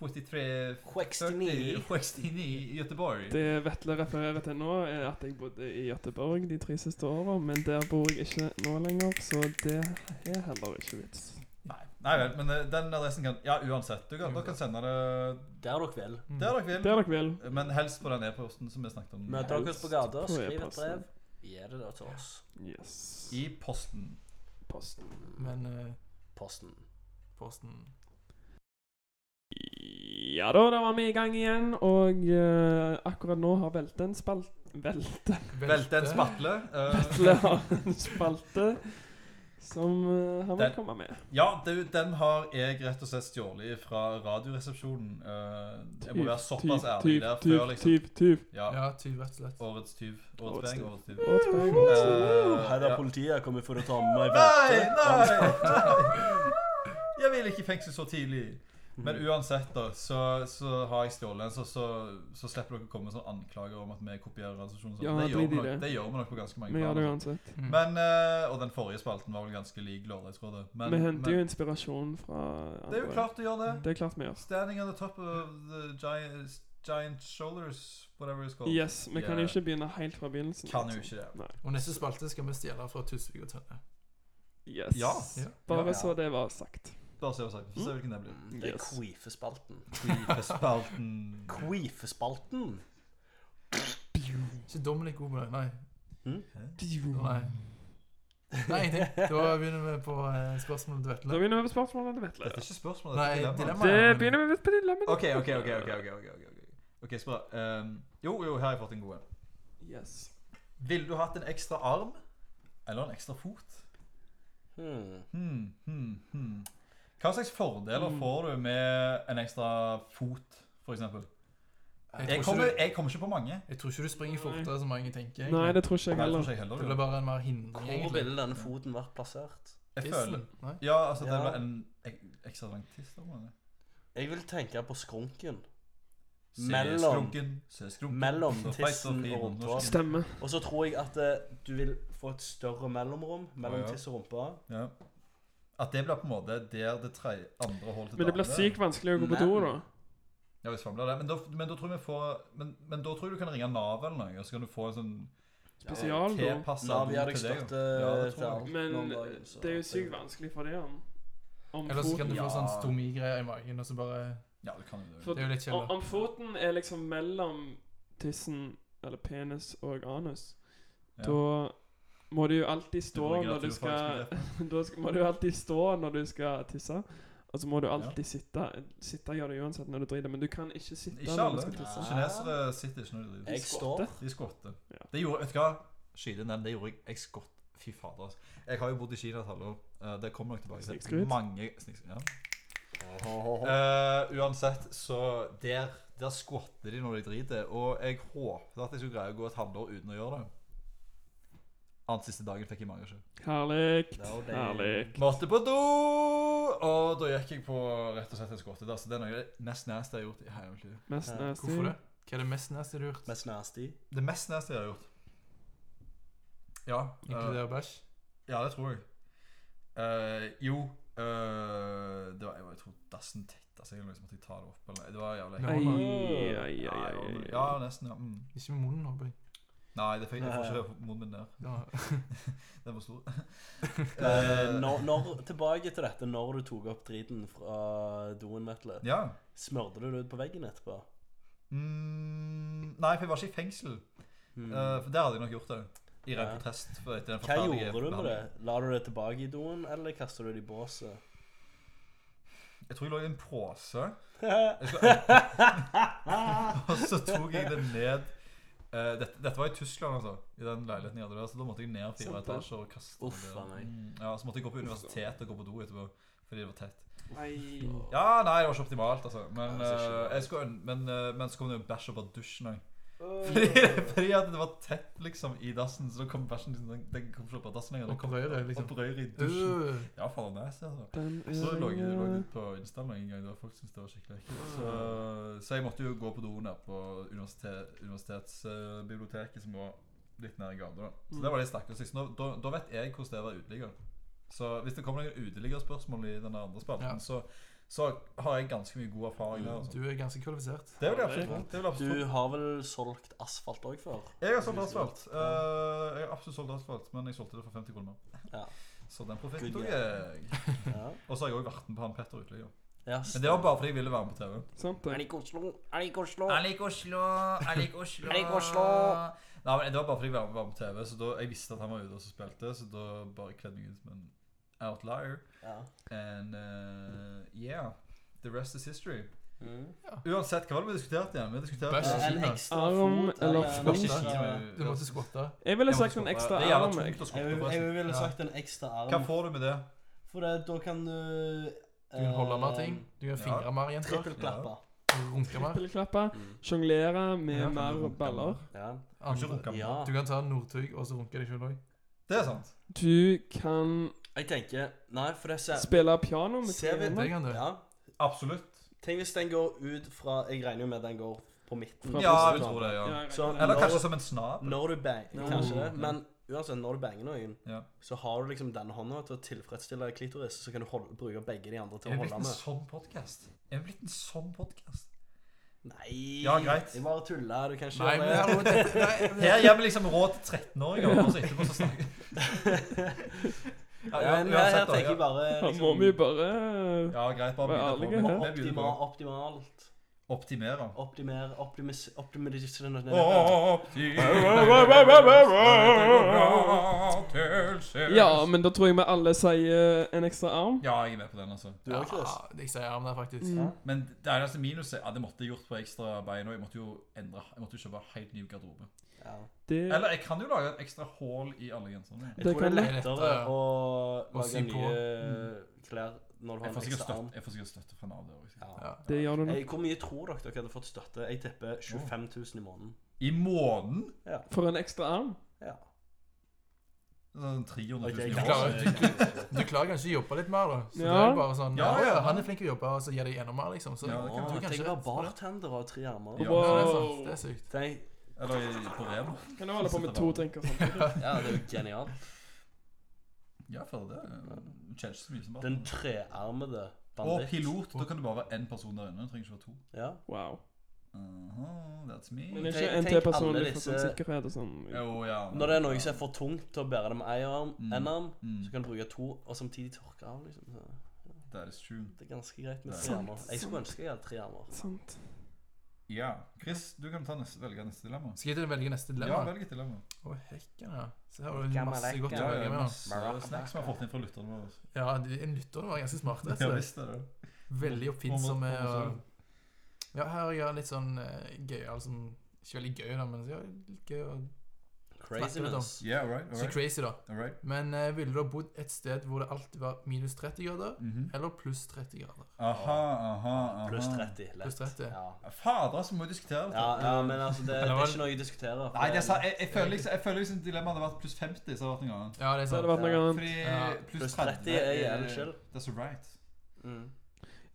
73
69.
69 i Göteborg.
Det Vetle refererer til nå, er at jeg bodde i Gøteborg de tre siste åra, men der bor jeg ikke nå lenger, så det er heller ikke vits.
Nei, nei vel, men eh, den adressen kan Ja, uansett. Du kan, dere kan sende det
Der dere vil.
Mm.
der dere vil.
Der dere vil.
Men helst på den e-posten som vi snakket om.
Møter dere oss på gata,
Helst på
skriv et
e-posten.
brev. Gi det da til oss.
Yes.
I posten.
Posten.
Men eh,
Posten.
posten
Ja da, da var vi i gang igjen, og eh, akkurat nå har Velte en spalt... Velte
Velte en spatle. eh,
Vetle har en spalte som eh, han vil
Den-
komme med.
ja, det, er jo- den har jeg rett og slett stjålet fra Radioresepsjonen. Eh, jeg må være såpass ærlig der før, liksom.
tyv, tyv.
Ja,
Ja, tyv, rett og slett.
årets tyv. Årets
Årets
bang,
tyv.
årets tyv.
Åt meg, åt
Eh,
Hei, det
ja.
er politiet. Jeg kommer for å ta med meg
Nei,
velte.
nei, nei. Jeg vil ikke i fengsel så tidlig.
Mm.
Men
Mm.
uansett, da, så, så har jeg stjålet en, så, så, så slipper dere å komme med sånne anklager om at vi kopierer organisasjonen.
Ja,
det, gjør
drit
vi
i
nok,
det.
det gjør vi nok på ganske mange
Vi gjør det
planer.
uansett.
Mm.
Men, eh, og den forrige spalten var vel ganske lik Lørdagsrådet. Men,
Vi henter jo
men
inspirasjon fra
det er jo klart eh. du gjør det.
Det er klart vi gjør.
Standing on the top of the giant, giant shoulders, whatever it's called.
Yes, vi kan
Ja.
jo ikke begynne helt fra begynnelsen.
Kan jo
liksom.
ikke det.
Og neste spalte skal vi stjele fra Tusvik og Tønne.
Yes.
Ja.
Ja.
Bare
Ja.
så det var sagt.
Bare se hva saken Få se hvilken det blir.
Mm.
Det er
Yes.
queefespalten.
Queefespalten.
Queefespalten?
Ikke Dominic god på det. Nei. Nei.
Da
Nei, ingenting. Da begynner vi på eh, spørsmålet til Vetle.
begynner vi med spørsmålet til Vetle.
Dette er ikke spørsmål,
Nei,
dette er dilemma.
dilemma.
Det begynner vi med på dilemmaet.
OK, OK, OK. ok, ok, ok, ok, ok. Ok, spør. Ehm, jo, jo, her har jeg fått en god en.
Yes.
Ville du hatt en ekstra arm eller en ekstra fot?
Hmm.
Hmm, hmm, hmm. Hva slags
Mm.
fordeler får du med en ekstra fot, f.eks.? Jeg
Jeg tror,
kommer,
ikke,
jeg kommer ikke på mange.
du- jeg tror ikke du springer fortere som mange tenker. egentlig.
Nei, det tror ikke
Nei,
jeg
det tror
heller.
ikke jeg heller.
Det blir bare en mer hindring,
Hvor
egentlig.
ville denne foten vært plassert?
Jeg føler
Island? Nei.
Ja, altså det
Ja.
blir en ek- ekstra lang tiss. da, mener jeg.
Jeg vil tenke på skrunken.
Se
Mellom-
skrunken, se skrunken.
mellom
Så feit
tissen
fin
og rumpa.
norsk.
Stemmer.
Og så tror jeg at eh, du vil få et større mellomrom mellom
Å, ja.
tiss og rumpe.
Ja. At det blir på en måte der det tre andre holder til
Men det blir
dame.
sykt vanskelig å gå på do, da.
Ja, hvis faen blir det. Men da, men da tror jeg vi får men, men da tror jeg du kan ringe Nav eller noe, og så kan du få en sånn
Spesial, da.
tilpassa
Nav gir
do
deg
til deg.
støtte
Ja, det
til
tror
alt.
jeg.
Men
nå om dagen, så
det er jo sykt vanskelig for det om, om
Eller så kan
foten
du
Ja.
få sånn stomigreier i magen, og så bare
Ja, du kan jo
For-
det.
Det er jo litt
om,
kjedelig.
om foten er liksom mellom tissen, eller penis, og anus,
Ja.
da må du jo alltid
Det
stå
var gøy at
når du
du
skal
faktisk
Da skal, må du alltid stå når du skal tisse. Og så må du alltid sitte. Sitte gjør du uansett når du driter, men du kan ikke sitte
Ikke
når du
alle.
skal tisse.
Kinesere sitter ikke når de driver.
Jeg står.
Skotter.
De skotter.
Ja.
Det gjorde, vet du hva? Skyte inn den, det gjorde jeg. Jeg skott. Fy fader. altså. Jeg har jo bodd i Kina et halvår. Eh, Det kommer nok tilbake til.
Snikskryt.
Mange snikskryt. Ja.
Åhåhåhå.
Eh, uansett, så der, der skvatter de når de driter. Og jeg håpet at jeg skulle greie å gå et halvår uten å gjøre det. Annet siste dagen fikk jeg magesjø.
Herlig.
Det er jo det.
Herlig.
Måtte på do! Og da gikk jeg på rett og slett en skvatt. Altså, det er noe av det mest nasty jeg har gjort i hele mitt liv.
Mest
Ja,
nasty.
Hvorfor det? Hva er det mest nasty du har gjort?
Mest nasty.
Det mest nasty jeg har gjort. Ja. eh,
Inkluderer bæsj?
ja, det tror jeg. Eh, jo eh, Det var jeg, var- jeg tror dassen tetta seg, eller noe, så måtte jeg ta det opp. Eller, det var jævlig ekkelt.
Nei.
Ai, ai, ai,
Ja,
ai,
jeg var-
ai.
ja, nesten. ja mm.
Ikke med munnen, håper jeg.
Nei, det fikk jeg får
Nei.
ikke munnen min ned.
Ja.
Den var stor.
Eh,
Eh,
når, når, tilbake til dette når du tok opp driten fra doen, Vetle.
Ja.
Smørte du det ut på veggen etterpå?
Mm, nei, for jeg var ikke i fengsel.
Hmm.
Eh, for der hadde jeg nok gjort det. I ren
Ja.
protest. For etter den
Hva
forferdelige
gjorde du med det?
behandlingen.
La du det tilbake i doen, eller kasta du det i båset?
Jeg tror jeg lå i en pose.
Å
Jeg skulle- Og så tok jeg det ned Eh, dette, dette var i Tyskland, altså. I den leiligheten jeg hadde der. Så da måtte jeg ned fire
Sant det.
etasjer og kaste det
Sånn, Uff,
der.
faen meg.
Mm, Ja, så måtte jeg gå på universitetet og gå på do etterpå. Fordi det var tett.
Ai.
Ja, nei, det var ikke optimalt, altså. Men,
Nei, det er ikke
eh,
bra.
jeg skulle, øn- men, eh, men så kom det jo bæsj opp av dusjen òg. Fordi, fordi at det var tett liksom i dassen, så da kom bæsjen liksom, den, den kom ikke opp av dassen lenger. Den kom
Opprøret, liksom.
opprøret i dusjen.
Øh,
Ja, faen det er nasty, altså.
Den er
Så lå jeg lå
Eh.
jeg ut på Insta en gang, da folk syntes det var skikkelig ekkelt. Så, så jeg måtte jo gå på doen der på universitet, universitetsbiblioteket, som var litt nær gata. da. Så det var litt stakkars. Så nå- Da, da vet jeg hvordan det er å være uteligger. Så hvis det kommer noen uteliggerspørsmål i den andre spalten,
Ja.
så, så har jeg ganske mye god erfaring der. Altså.
Mm, du er ganske kvalifisert.
Det vil jeg absolutt tro. Det vil jeg absolutt tro.
Du har vel solgt asfalt òg før?
Jeg har solgt asfalt. Eh, jeg har absolutt solgt asfalt, men jeg solgte det for 50 kroner.
Ja.
Så den profitten
Good
tok jeg.
Ja.
Og så har jeg òg vært med på han Petter Uteligger.
Ja,
Men det var bare fordi jeg ville være med på TV.
Sant, det.
ikke Oslo? Er det ikke Oslo?
liker Oslo, jeg liker Oslo.
Jeg liker Oslo.
Nei, men Det var bare fordi jeg var var med på TV, så da, jeg visste at han var ute og så spilte, så da bare kledde jeg meg ut som en outlier.
Ja.
And eh, yeah. The rest is history.
Mm.
Uansett, hva var det vi diskuterte igjen? Vi diskuterte
Bæsj.
En
Kina.
ekstra
Arm
fot en
eller fot?
ekstra-
Du måtte skvatte.
Jeg ville
Jeg
sagt
måtte skvatte.
en ekstra
Det er jævla
arm. jeg.
tungt å
Jeg,
skvatte,
vil-
forresten.
jeg ville
Ja.
sagt en ekstra arm.
Hva får du med det?
For det, da kan du
Du kan holde mer
eh,
ting. Du kan
ja.
fingre mer, jenter.
Trippelklappe.
Du kan Runke mer.
Pilleklappe.
Mm.
Sjonglere med
Ja, kan du
mer
runke
baller.
med?
Ja.
Kan ikke
Andre.
runke med.
ja.
Du kan ta Northug og så runke deg sjøl òg.
Det er sant.
Du kan
Jeg tenker Nei, for det ser
spille piano med
Ser vi
tre
Det
hender.
kan du.
Ja.
Absolutt.
Tenk hvis den går ut fra Jeg regner jo med den går på midten.
Fra
Ja,
brystet,
jeg tror det, ja.
Så-
Eller
Når-
kanskje som en snab.
Når du bang,
Ja.
Kanskje det.
Mm.
Men uansett, når du banger noen,
Ja.
så har du liksom denne hånda til å tilfredsstille klitoris, så kan du holde, bruke begge de andre til
Er
å
vi blitt
holde
en
med.
sånn podkast? Er vi blitt en sånn podkast?
Nei,
Ja, greit.
jeg bare tuller. Du kan ikke
Nei, men det
gjøre det.
er jo det- nei,
altså, Her gir vi liksom råd til 13-åringer, og så etterpå så snakker Ja,
Ja, men eh, her, her
da,
tenker jeg
ja.
bare
Her må liksom. vi
liksom,
jo bare
Ja, greit, bare
Vær
begynne på.
ærlige
Vi begynner
optima,
på.
Optimalt.
Optimere.
Optimere Optimis...
Optimere.
Ja, men da tror jeg vi alle sier en ekstra arm.
Ja, jeg er med på den, altså.
Du òg, Chris?
jeg sier arm der, faktisk.
Mm.
Men det eneste minuset Ja, det måtte jeg gjort på ekstra bein òg. Jeg måtte jo endre Jeg måtte jo kjøpe helt ny garderobe.
Ja.
Det,
Eller jeg kan jo lage et ekstra hull i alle genserne.
Jeg
Det
tror det er
kan
være
lettere
lettere
å
å
lage
sy på.
nye klær når du
Mm.
har
Jeg
en
får sikkert
ekstra
støtte,
arm.
jeg får sikkert støtte fra Nav. det også.
Ja.
Ja.
det gjør du nok.
Jeg, hvor mye tror dere dere hadde fått støtte? Jeg tipper 25 000 i måneden.
I måneden
For en ekstra arm?
Ja.
sånn 300
Ok,
000 i
jeg
måneden.
klarer Du klarer kanskje å jobbe litt mer, da. Så
Ja.
det er jo bare sånn
Ja,
ja,
ja.
Han er flink til å jobbe, og så gir de enda mer, liksom. Så
Ja, det
du
kan
Åh,
kan
Tenk å
ikke
være bartender og ha tre armer.
Ja.
Ja, det er
Wow.
sant. Det er sykt.
Tenk,
Eller i- på Rema.
Kan du holde på med to tenker sånn? samtidig?
ja, det er jo genialt.
Ja, for det skjer ikke så mye som bare
Den trearmede
Og
banditt.
pilot. Da kan du bare være én person der inne. Du trenger ikke være to.
Ja.
Wow.
Aha, that's me.
Men det er
Tenk-
ikke en
tenk
til person
alle
litt for sånn
disse-
sikkerhet og sånn?
Jo, ja.
Når det er noe som er for tungt til å bære det med én arm,
Mm.
en arm,
Mm,
så kan du bruke to og samtidig tørke av. liksom. Så
That is true.
Det er ganske greit med
Nei.
tre armer. Jeg skulle ønske jeg hadde tre armer.
Sant.
Ja. Chris, du kan ta neste, velge neste dilemma.
Skal jeg til å velge neste
Ja,
dilemma?
velg et dilemma.
Å, hekken, ja. Så her har du
Gamma
masse
lekker.
godt å
Ja,
velge
ja,
mellom.
masse snacks vi har fått inn fra lytterne våre.
Ja, de- en lytter var ganske smart. rett
Ja,
og slett.
visst er det. Om-
Veldig
om-
oppfinnsomme.
om-
og-
om-
Ja, her har jeg litt sånn eh, gøyal sånn Ikke veldig gøy, da, men ja, litt gøy og
Craziness.
Yeah, all right, all
Så
right,
crazy, da.
all right.
Men eh, ville du ha bodd et sted hvor det alltid var minus 30 grader,
Mhm.
eller pluss 30 grader?
Aha, aha, aha.
Pluss 30. Lett.
Pluss 30.
Ja.
Fader, altså, må vi diskutere dette.
Ja, ja, men altså, det, det er ikke noe jeg diskuterer. for
Nei, det er,
det-
sa- jeg, jeg føler liksom, jeg føler liksom dilemmaet hadde vært pluss 50, så hadde det vært noe annet.
Ja, det er
Så hadde
sant.
det vært noe annet.
Fordi
Ja.
Pluss
pluss
30 er jævlig chill.
That's all right.
Mm.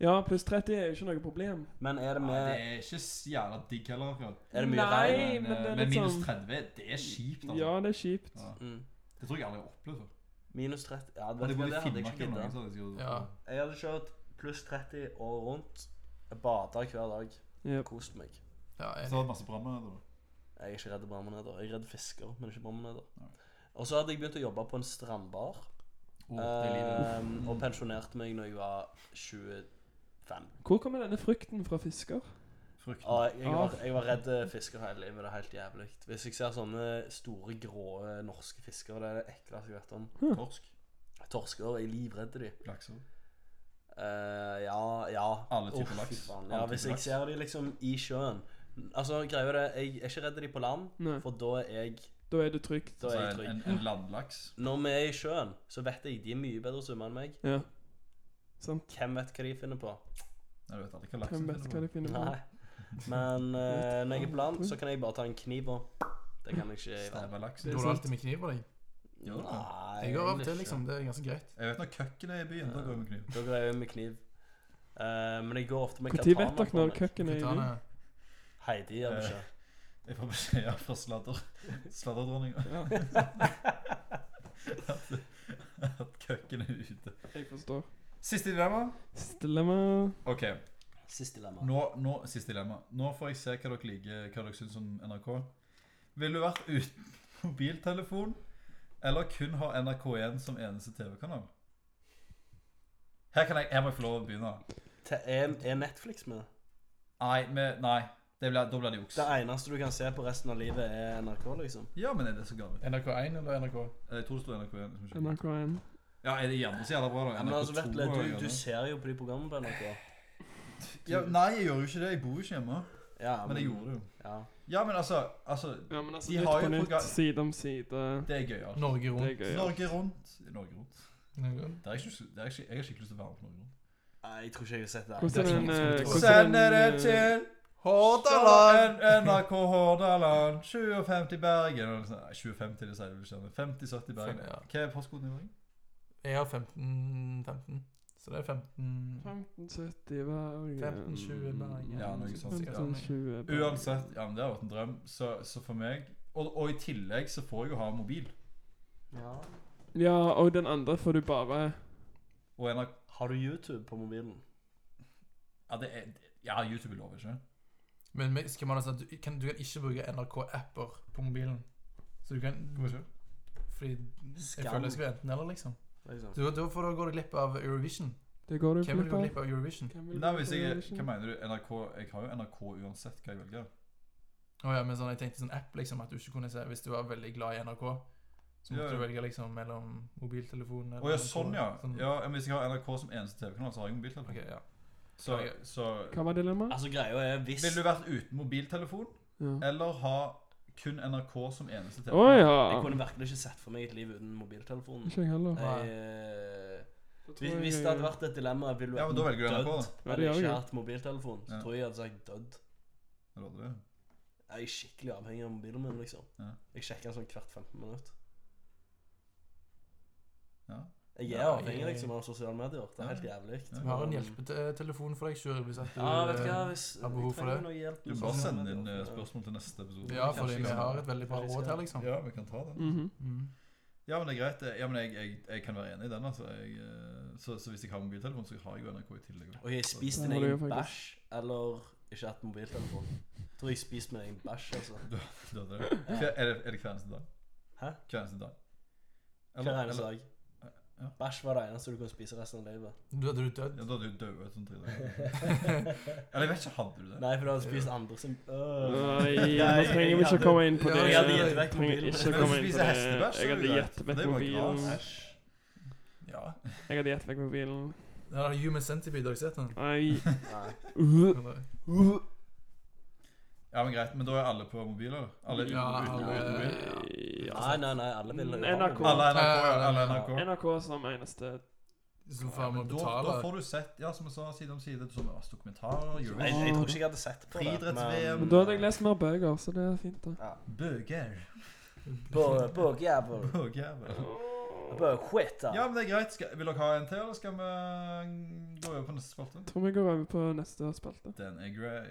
Ja, pluss 30 er jo ikke noe problem.
Men er det
Nei,
med
det er ikke så jævla digg heller. akkurat.
Er det mye
Nei,
regn?
men
Men,
det
eh,
er
men
litt
minus
sånn-
30, det er kjipt, altså.
Ja, det er kjipt.
Ja.
Mm.
Det tror jeg aldri jeg har opplevd før.
Minus 30 Ja, vet
Hadde
du
jeg
hva,
bodd i
det hadde jeg
Finnmark
ikke
eller noe,
giddet.
så hadde jeg sikkert
Ja.
Jeg hadde kjørt pluss 30 året rundt. Bada hver dag.
Yep.
Kost meg.
Så
Ja, jeg,
hadde det vært masse brannmenn der.
Jeg er ikke redd brammeneter. Jeg er redd fisker, men ikke
Nei.
brammeneter. Og så hadde jeg begynt å jobbe på en strandbar.
Å, det er livet.
ehm, og pensjonerte meg når jeg var 25.
Hvor kommer denne frykten fra fisker?
Frukt.
Og jeg, var, jeg var redd eh, fisker hele livet. Det er helt jævlig. Hvis jeg ser sånne store, grå eh, norske fisker, det er det ekleste jeg vet om.
Torsk.
Torsker. Jeg er livredd de.
Lakser.
Eh, ja, ja.
Alle typer
Å, fy
laks.
faen.
Alle
Ja,
typer
hvis jeg
laks.
ser de liksom i sjøen Altså, greia er det Jeg er ikke redd de på land,
Nei,
for da er jeg
da er det trygt.
Da
Så
er jeg
Altså, en,
trygg.
en, en landlaks.
Når vi er i sjøen, så vet jeg de er mye bedre svømmere enn meg.
Ja. Sant.
Hvem vet hva de finner på?
Jeg vet aldri hva laksen
Hvem vet hva de
Mm.
finner på?
Nei. Men eh, når jeg er på land,
Vet
så kan jeg bare ta en kniv og Det kan jeg ikke i vann.
Stabber laksen.
du har alltid med kniv på deg.
Gjør du det?
Nei,
Jeg går av og til,
egentlig ikke.
liksom. Det er ganske greit.
Jeg vet når køkken er i byen, da går jeg med kniv.
Da går jeg med kniv. Eh, men jeg går ofte med
Når vet
katana.
dere
på
når
meg.
køkken er i byen?
Katana.
Heidi gjør det ikke.
Jeg får beskjed fra sladder. Sladderdronninga.
Ja,
At, at køkken er ute.
jeg forstår.
Siste dilemma.
Dilemma
OK, Eh,
Siste dilemma.
nå, nå, siste dilemma. Nå får jeg se hva dere liker, hva dere syns om NRK. Ville du vært uten mobiltelefon, eller kun ha NRK1 som eneste TV-kanal? Her, kan jeg, her må jeg få lov å begynne.
Te- Er, er Netflix med?
Nei, med, nei det blir, da blir det juks.
Det eneste du kan se på resten av livet, er NRK, liksom?
Ja, men er det så galt?
NRK1 eller NRK?
Jeg tror det står NRK1. liksom ikke.
NRK1.
Ja, er det gjerne så jævla bra, da?
Ja, men altså,
NRK2
Vetle,
og
du,
gjerne.
du ser jo på de programmene på NRK.
ja, Nei, jeg gjør jo ikke det. Jeg bor jo ikke hjemme.
Ja,
Men jeg gjorde det jo.
Ja.
Ja, men altså, altså
Ja, men altså,
De
nytt
har
på
jo
nytt,
program-
side om side.
Det er gøyalt.
Norge
Det er
rundt.
gøy. ja.
Norge rundt. Norge rundt.
Norge rundt.
Det er ikke, det er ikke, jeg har skikkelig lyst til å være med på Norge rundt.
Nei, jeg tror ikke jeg har sett det.
Hvordan er den, eh,
Og
hvordan er den, eh,
Hordaland! NRK Hordaland. 2050 Bergen. eller sånn. Nei, 2050, det sier du vel ikke. 50-70 Bergen.
Fem, ja.
Hva er postkoden i Bergen?
Jeg har 15 15. Så det er 15
1570 Bergen
1520 Bergen.
Ja, noe sånt, ja.
1520 Bergen.
Uansett, ja, men det har vært en drøm. Så, så for meg og, og i tillegg så får jeg jo ha mobil.
Ja.
Ja, og den andre får du bare
Og NRK
Har du YouTube på mobilen?
Ja, det er, ja YouTube er lov, ikke?
Men men skal man altså, du, kan, du kan ikke bruke NRK-apper på mobilen. Så du kan
Hvorfor?
Fordi jeg
Skam.
føler jeg skal være enten eller, liksom.
Liksom.
Da, da får du gå glipp av Eurovision.
Det går du
Hvem vil
glipp
gå
av.
glipp av Eurovision?
Hvem vil
Nei,
gå
hvis
glipp av
jeg,
Eurovision?
Hva mener du? NRK, jeg har jo NRK uansett hva jeg velger.
Å ja, men sånn, jeg tenkte sånn app, liksom, at du ikke kunne se Hvis du var veldig glad i NRK, så måtte
Ja, ja.
du velge liksom mellom mobiltelefon
Å ja, sånn, ja.
Sånn.
ja men hvis jeg har NRK som eneste TV-kanal, så har jeg mobiltelefon.
Ok, ja.
Så,
Ja, ja.
så
Hva var dilemmaet?
Altså, greia er hvis
Ville du vært uten mobiltelefon,
Ja.
eller ha kun NRK som eneste
Å
TV-kanal?
ja.
Jeg kunne virkelig ikke sett for meg et liv uten mobiltelefonen.
Ikke jeg heller.
Jeg, eh,
Da tror
hvis,
jeg-
hvis det hadde vært et dilemma, ville du
Ja, men da velger du NRK,
dødd.
da.
Ja,
Hadde jeg
det gjør jeg
ikke
jo.
hatt mobiltelefon, så
Ja.
tror jeg jeg hadde sagt dødd.
Eller hadde du?
Jeg er skikkelig avhengig av mobilen min, liksom.
Ja.
Jeg sjekker den sånn hvert 15 minutt.
Ja.
Jeg er
Ja,
avhengig
jeg-
liksom av sosiale medier. Det er helt jævlig.
Ja.
Vi har en hjelpetelefon for deg sjøl hvis at du
Ja, vet du hva, hvis
har behov for det.
noe hjelp
Du
med
Sånn,
bare
sosiale
sender inn
medier.
eh, spørsmål til neste episode.
Ja, fordi vi
Kanskje- sånn.
har et veldig bra
Kanskje vi
råd
skal-
her, liksom.
Ja, vi kan ta den.
Mhm.
Mm.
Ja, men det er greit. det. Ja, men jeg, jeg, jeg kan være enig i den. altså. Jeg, eh, så, så hvis jeg har mobiltelefon, så har jeg jo NRK i tillegg.
Ok, spis
Det
din
må du
egen
gjøre,
bæsj, eller ikke hatt mobiltelefon. Jeg tror jeg spiste min egen bæsj, altså.
Da er det- Hver- Er det, er det hver eneste dag?
Hæ?
Hver eneste dag? Eller-
Hver eneste
eller-
dag.
Ja.
Bæsj var det eneste du kunne spise resten av livet.
Da hadde du dødd.
Ja, da hadde du dødd sånn tre dager. Eller jeg vet ikke, hadde du det?
Nei, for du hadde spist andre sin øh.
Nei, nå trenger vi ikke å komme inn på det.
Jeg hadde gjettet
vekk
Trenger
mobilen.
ikke å
Men
komme inn
hvis du
på
spiser
det.
hestebæsj, så
Jeg
er det
hadde
greit.
gjettet vekk
Det var
mobilen.
gras.
Ja.
Jeg hadde gjettet vekk mobilen.
Den der Human Centipede, har du sett den?
Nei.
Nei.
Uh,
Eller-
Ja, men greit, men da er alle på mobiler? Alle er uten,
Ja,
uten,
alle-
uten mobil?
ja.
Nei, nei, nei, alle ville jo ha
NRK.
mobil.
Alle er NRK, ja. Alle er
Ja,
NRK.
NRK som eneste
Som
Ja,
faen må
men da, da
betale.
får du sett, ja, som jeg sa, side om side, som masse dokumentarer,
Jeg,
Eurovision
jeg tror ikke jeg hadde sett på det.
Friidretts-VM.
Men da hadde jeg lest mer bøker, så det er fint, da.
Bøger.
Bå- Bågjævel.
Bøger.
Bågskjeta.
Ja, men det er greit. Skal, vil dere ha en til, eller skal vi mm, gå over på neste spalte?
Tror vi går over på neste spalte.
Den er grei.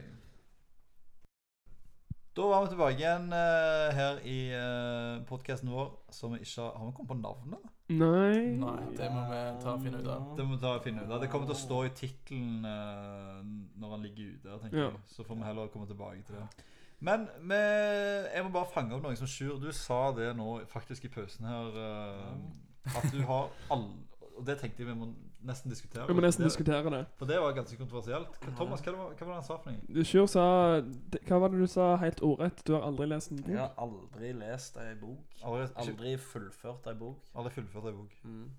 Da var vi tilbake igjen eh, her i uh, podkasten vår, som vi ikke har Har vi kommet på navnet?
Nei.
Nei, det må vi ta og finne ut av.
Det må vi ta og finne ut av. Det kommer til å stå i tittelen eh, når han ligger ute, tenker
Ja.
jeg. Så får vi heller komme tilbake til det. Men vi, jeg må bare fange opp noen som sjur. Du sa det nå faktisk i pausen her, eh, at du har alle Og det tenkte jeg vi må nesten diskutere.
Vi må nesten
Det-
diskutere det.
For det var ganske kontroversielt. Hva- Thomas, hva var, hva var det han sa for noe?
Sjur sa det- Hva var det du sa helt ordrett? Du har aldri lest en
Jeg
bok?
har aldri lest ei bok.
Aldri, ikke,
Aldri fullført ei bok.
aldri fullført ei bok.
Mm.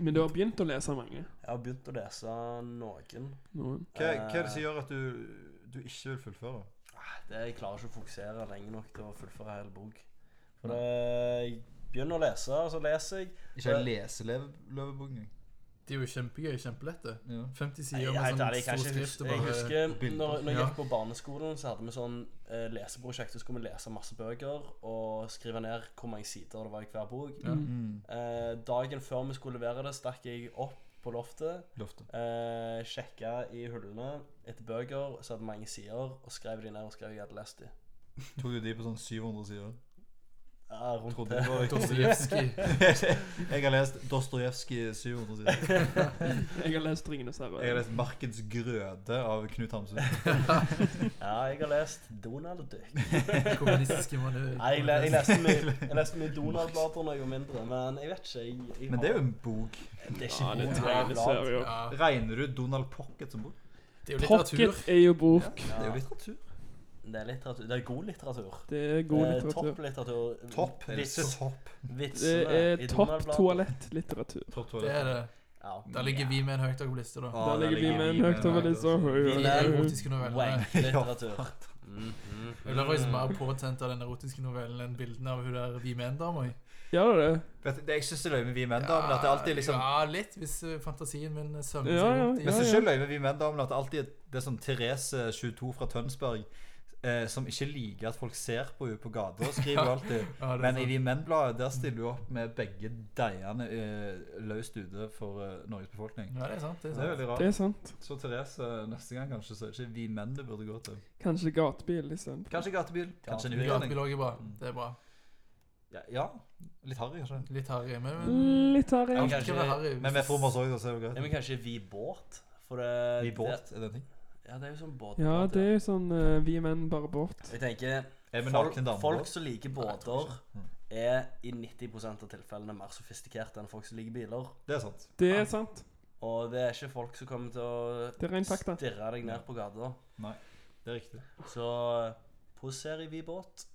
Men du har begynt å lese mange?
Jeg har begynt å lese noen.
Noen.
Hva, hva er det
Eh,
som gjør at du, du ikke vil fullføre?
Ah, Det, jeg klarer ikke å fokusere lenge nok til å fullføre hele bok. For det, jeg begynner å lese, og så leser jeg.
Ikke ei leseløvebok engang.
Det er jo kjempegøy. Kjempelett, det.
Ja.
50
Nei,
sider
helt ærlig,
med sånn
jeg, kan
stor
ikke
skrift
huske,
og
jeg
bare
husker
bilder.
når, når jeg
Ja.
gikk på barneskolen, så hadde vi sånn eh, leseprosjekt. Så skulle vi lese masse bøker og skrive ned hvor mange sider det var i hver bok.
Ja.
Mm.
Eh, dagen før vi skulle levere det, stakk jeg opp på loftet.
Loftet.
Eh, Sjekka i hullene etter bøker som hadde mange sider, og skrev de ned og skrev jeg hadde lest de.
Tok du de på sånn 700 sider?
Ja, rundt
Trodde
det.
det var
Dostojevskij.
Jeg har lest Dostojevskij 700 sider.
Jeg har lest 'Ringenes
Jeg har
herre'.
lest 'Markens grøde' av Knut Hamsun.
Ja, jeg har lest Donald Duck.
Kommunistiske manøver.
Nei, jeg, le jeg leste mye, jeg leste mye Donald-blader da jeg var mindre, men jeg vet ikke. Jeg, jeg
Men det er
har-
jo en bok.
Det er ikke
Ja, det er
god
TV-serier.
Ja,
Regner du Donald Pocket som bok?
det er jo litteratur.
Pocket er jo bok.
Det er jo litteratur.
Det er, litteratur. det er god litteratur.
Det er god
Eh,
litteratur.
Topp litteratur.
Topp.
Vits,
Topp.
Det
vitsene
er
eh, i
Eh, topp
Donald-blader.
toalettlitteratur.
Topp
Det er det.
Ja.
Der ligger vi med en høyt oppe på lista, da.
Ja,
Der ligger vi med en
vi
høyt over
med
lista.
en høyt
Vi
Vi
er
er jo-
erotiske novellene.
Wank-litteratur. Mm, mm,
eh, Jeg blir faktisk mer påtent av den erotiske novellen enn bildene av hun der Vi med en dame. oi.
Gjør det det?
Vet du, det- Jeg syns det er løye med vi menn, da. Men at det alltid er liksom
Ja, litt, hvis eh, fantasien min sømmer
Ja,
seg
ja,
rundt
Men
i
ja.
så skylder jeg med vi menn da, men at det alltid er- det er sånn Therese 22 fra Tønsberg eh, som ikke liker at folk ser på henne på gata, skriver hun alltid.
Ja, det sånn? er
Men i
sant.
Vi menn-bladet der stiller du opp med begge deigene eh, løst ute for eh, Norges befolkning.
Ja, det er sant. Det
Det
er
er veldig
sant.
Det
rart.
er sant.
Så Therese, eh, neste gang kanskje, så er det ikke Vi menn du burde gå til.
Kanskje gatebil isteden.
Kanskje gatebil. Kanskje en
Gatebil.
utlending.
Gatebilog er bra. Det er bra.
Ja, ja. Litt harry, kanskje.
Litt harry, men, men
Litt
Ja,
harry.
men
alt kan være
kanskje-
harry.
Mm. Men med Fromas òg, så er det
Ja, men
greit.
kanskje vi båt? For det,
Vi båt, er det en ting?
Det, ja, det er jo sånn båt.
Ja,
båt,
det er jo sånn eh, vi menn bare båt.
Jeg tenker
Er vi
folk,
nakne damer
folk
også?
som liker
Nei, jeg tror
båter,
ikke.
Mm.
er i 90 av tilfellene mer sofistikerte enn folk som liker biler.
Det er sant.
Det er sant.
Og det er ikke folk som kommer til
Det
å
er ren fakta.
stirre deg ned på gata.
Det er riktig.
Så eh, poser i hvit-båt.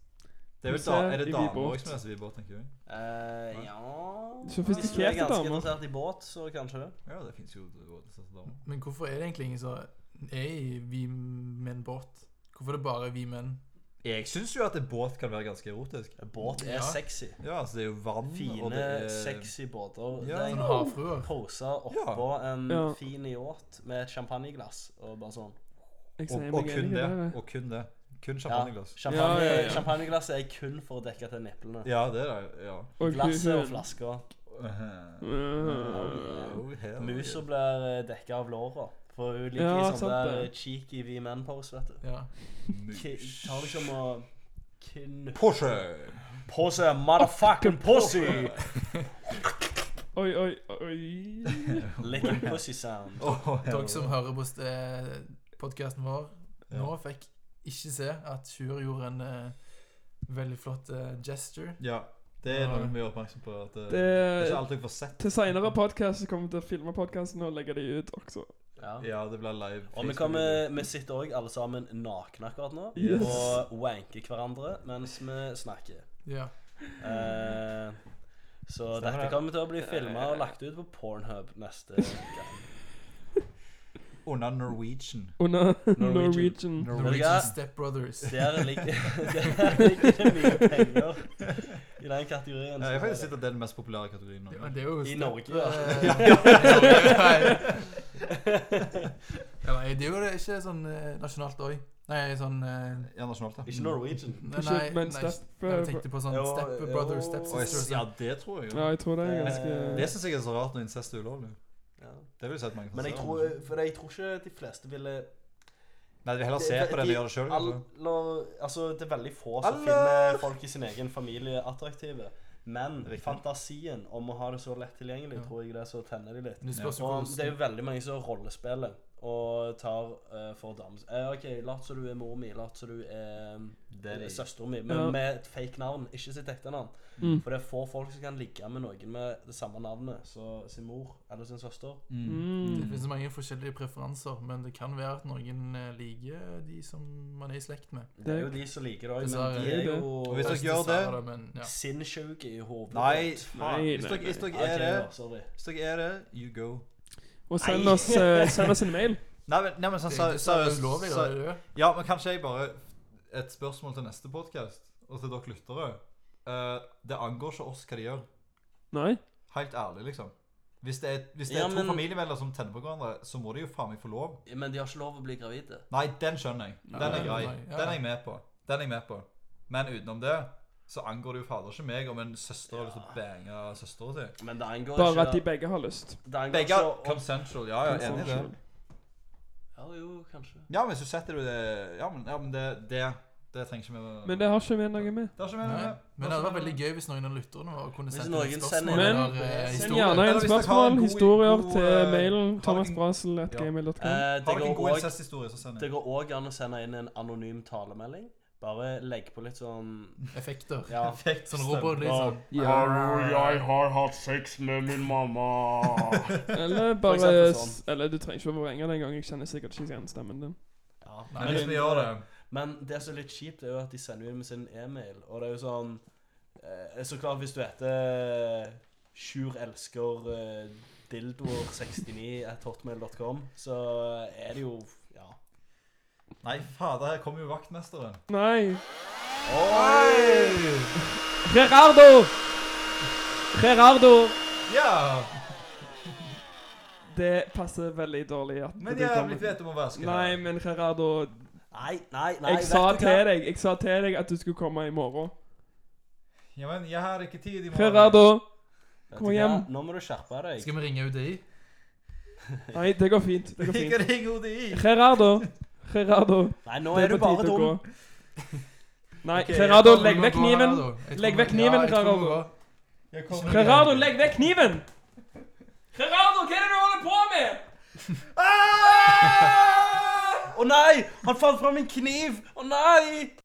Det er, vel
Hun
da,
ser
er det
i
damer
båt.
også som leser Vibåt, tenker jeg.
Eh,
Nei.
ja Hvis du er
Sofistikerte
ganske
damer.
interessert i båt, så kanskje det.
Ja, det fins jo båter som leser damer.
Men hvorfor er det egentlig ingen som er i Vi menn båt? Hvorfor er det bare vi menn?
Jeg syns jo at en båt kan være ganske erotisk.
Båt er
Ja.
sexy.
Ja, altså det er jo vann og det
Fine,
er
sexy båter.
Ja.
Det er en
Sånn havfruer?
pose oppå en
Ja.
fin yacht med et champagneglass og bare sånn.
Jeg
Og,
sier
og
meg
kun
enig i
det.
det.
Og kun det. Kun
Ja,
champagneglass.
champagne,
Ja, ja, ja.
Champagneglasset er kun for å dekke til niplene.
Ja, det er det. Ja.
Og
Glasset og
hun-
flaska.
Uh,
Øh.
oh, hell
Musa
yeah.
blir dekka av låra. For hun ligger
Ja,
i sånn
sant
der
det.
cheeky vi men-pose, vet du.
Ja.
Mus.
Ki tar liksom og knuller
Porsche!
på seg motherfucking pussy!
Oi, oi, oi.
Licking pussy sound.
Oh, hell
Dere som
yeah.
hører på podkasten vår nå, fikk ikke se at Sjur gjorde en eh, veldig flott eh, gesture.
Ja, det er noe vi er oppmerksom på. At eh, det, det er ikke
Det,
alt dere får sett.
til seinere podkast kommer vi til å filme podkasten og legge det ut også.
Ja.
Ja, det blir live.
Og vi, kommer, vi sitter òg alle sammen nakne akkurat nå
Yes.
og wanker hverandre mens vi snakker.
Ja.
Eh, så
Stemmer
dette
det.
kommer til å bli filma og lagt ut på Pornhub neste uke.
Under Norwegian.
Under
Norwegian.
Norwegian.
Ja.
Norwegian Stepbrothers.
Der ligger der ligger det mye penger i den kategorien.
Ja, jeg har faktisk sett at det er den mest populære kategorien nå.
Ja, det er jo
I
step-
Norge, ja.
eh, ja. nei, Det er jo det- ikke sånn eh, nasjonalt òg. Nei, sånn eh,
Ja, nasjonalt, Mm. ja.
Ikke Norwegian.
Nei,
Ikke,
nei,
men
nei,
Step- eh,
nei, jeg tenkte på sånn
Jo,
Step
jo.
Brothers, Step
Oi,
Sisters.
Ja, det tror jeg.
Ja,
jo.
jeg tror det er
Det
ganske
syns jeg er så rart når incest er ulovlig.
Ja.
Det vil si at mange kan
Men jeg
se
tror,
det.
for jeg tror ikke de fleste ville
Nei, de vil heller se
Det-
på det
de-
enn gjør det sjøl.
All, la- altså, det er veldig få som
Alle!
finner folk i sin egen familie attraktive. Men
Riktig.
fantasien om å ha det så lett tilgjengelig,
Ja.
tror jeg det er så tenner de litt.
Men Det spørs jo
Og det er
hvordan
jo veldig mange som rollespiller og tar eh, for damer. Eh, OK, lat som du er mor mi, lat som du er
er det.
søstera mi, men
Ja.
med et fake navn. Ikke sitt ekte navn.
Mm.
For det er få folk som kan ligge med noen med det samme navnet som sin mor eller sin søster.
Det
mm.
finnes mange forskjellige preferanser, men det kan være at noen eh, liker de som man er i slekt med.
Det er jo de som liker det òg,
Dessverre.
men de er
Det er det.
jo
Og hvis dere gjør
Dessverre,
det-
men, ja.
sinnssyke i hodet.
Nei,
Nei,
faen. Hvis
nei,
dere- Hvis
Ok,
dere er det,
da, sorry.
hvis dere er det, you go.
Og send oss, eh, send oss en mail.
Nei, men, nei, men sånn
Det er
ser-
ikke så
seriøst
ulovlig, da,
ser-
er det det?
Ja, men kanskje jeg bare Et spørsmål til neste podkast, og til dere lyttere. Eh, det angår ikke oss hva de gjør.
Nei?
Helt ærlig, liksom. Hvis det er, hvis det
Ja,
er to
men-
familiemedlemmer som tenner på hverandre, så må de jo faen meg få lov.
Men de har ikke lov å bli gravide.
Nei, den skjønner jeg. Den
Nei,
er grei.
nei, ja.
Den er jeg med på. Den er jeg med på. Men utenom det så angår det jo fader ikke meg om en søster har lyst til å bange søstera si.
Men det angår
Bare
ikke
at de begge har lyst.
Det angår
Begge
ikke å-
consensual. Ja, ja, enig i
sånn.
det.
Ja, jo, kanskje.
Ja, men så setter du det Ja, men, ja, men det, det Det trenger ikke vi å-
Men det har ikke vi noe med.
Det har ikke vi
Nei.
noe med.
Men det hadde vært veldig gøy hvis noen av lytterne våre kunne
Hvis
sendt inn
noen
et
sender
spørsmål
inn-
eller
Send
eh,
Gjerne
historie.
Eller
inn
hvis dere har en
spørsmål,
god-
historier
god,
til
eh,
mailen
har dere- Ja.
thomasbrasel.gmail.com.
Eh, det
Har dere en
går
god
også-
incest-historie, så send
det
inn.
går òg an å sende inn en anonym talemelding. Bare legg på litt sånn
Effekter.
Ja.
Perfekt.
Sånn robot, liksom.
jeg har hatt sex med min mamma.
Eller
For
bare
eksempel sånn.
s- Eller du trenger ikke å vrenge det engang. Jeg kjenner sikkert ikke igjen stemmen din.
ja.
Nei,
Men hvis vi gjør det
Men det som er litt kjipt, er jo at de sender jo inn med sin e-mail, og det er jo sånn eh, Så klart, hvis du heter eh, Sjur elsker eh, dildoer69 at hotmail.com, så er det jo Ja.
Nei, fader, her kommer jo vaktmesteren.
Nei!
Oi!
Gerardo! Gerardo!
Ja!
Det passer veldig dårlig at
Men
du
jævlig
kommer.
fett om å vaske.
Nei, men Gerardo,
Nei, nei, nei.
jeg
vet
sa
du hva?
til deg Jeg sa til deg at du skulle komme i morgen.
Ja, men jeg har ikke tid i morgen.
Gerardo!
Vet
Kom
du hva?
hjem.
Nå må du skjerpe deg.
Skal vi ringe UDI?
Nei, det går fint. Det går
Ikke
fint.
ring ODI!
Gerardo! Gerardo,
Nei, nå
det
er
er
du
på
bare
tide å gå.
dum.
Nei,
Ok, jeg
Gerardo,
Vi
legg
må
vekk
gå,
kniven.
Gerardo. Jeg tror
Legg
vi-
vekk kniven,
Ja, jeg tror vi
Gerardo.
går.
Jeg kommer.
Gerardo, legg vekk kniven! Gerardo, hva er det du holder på med?
Ah! Å nei! Han fant fram en kniv! Å nei!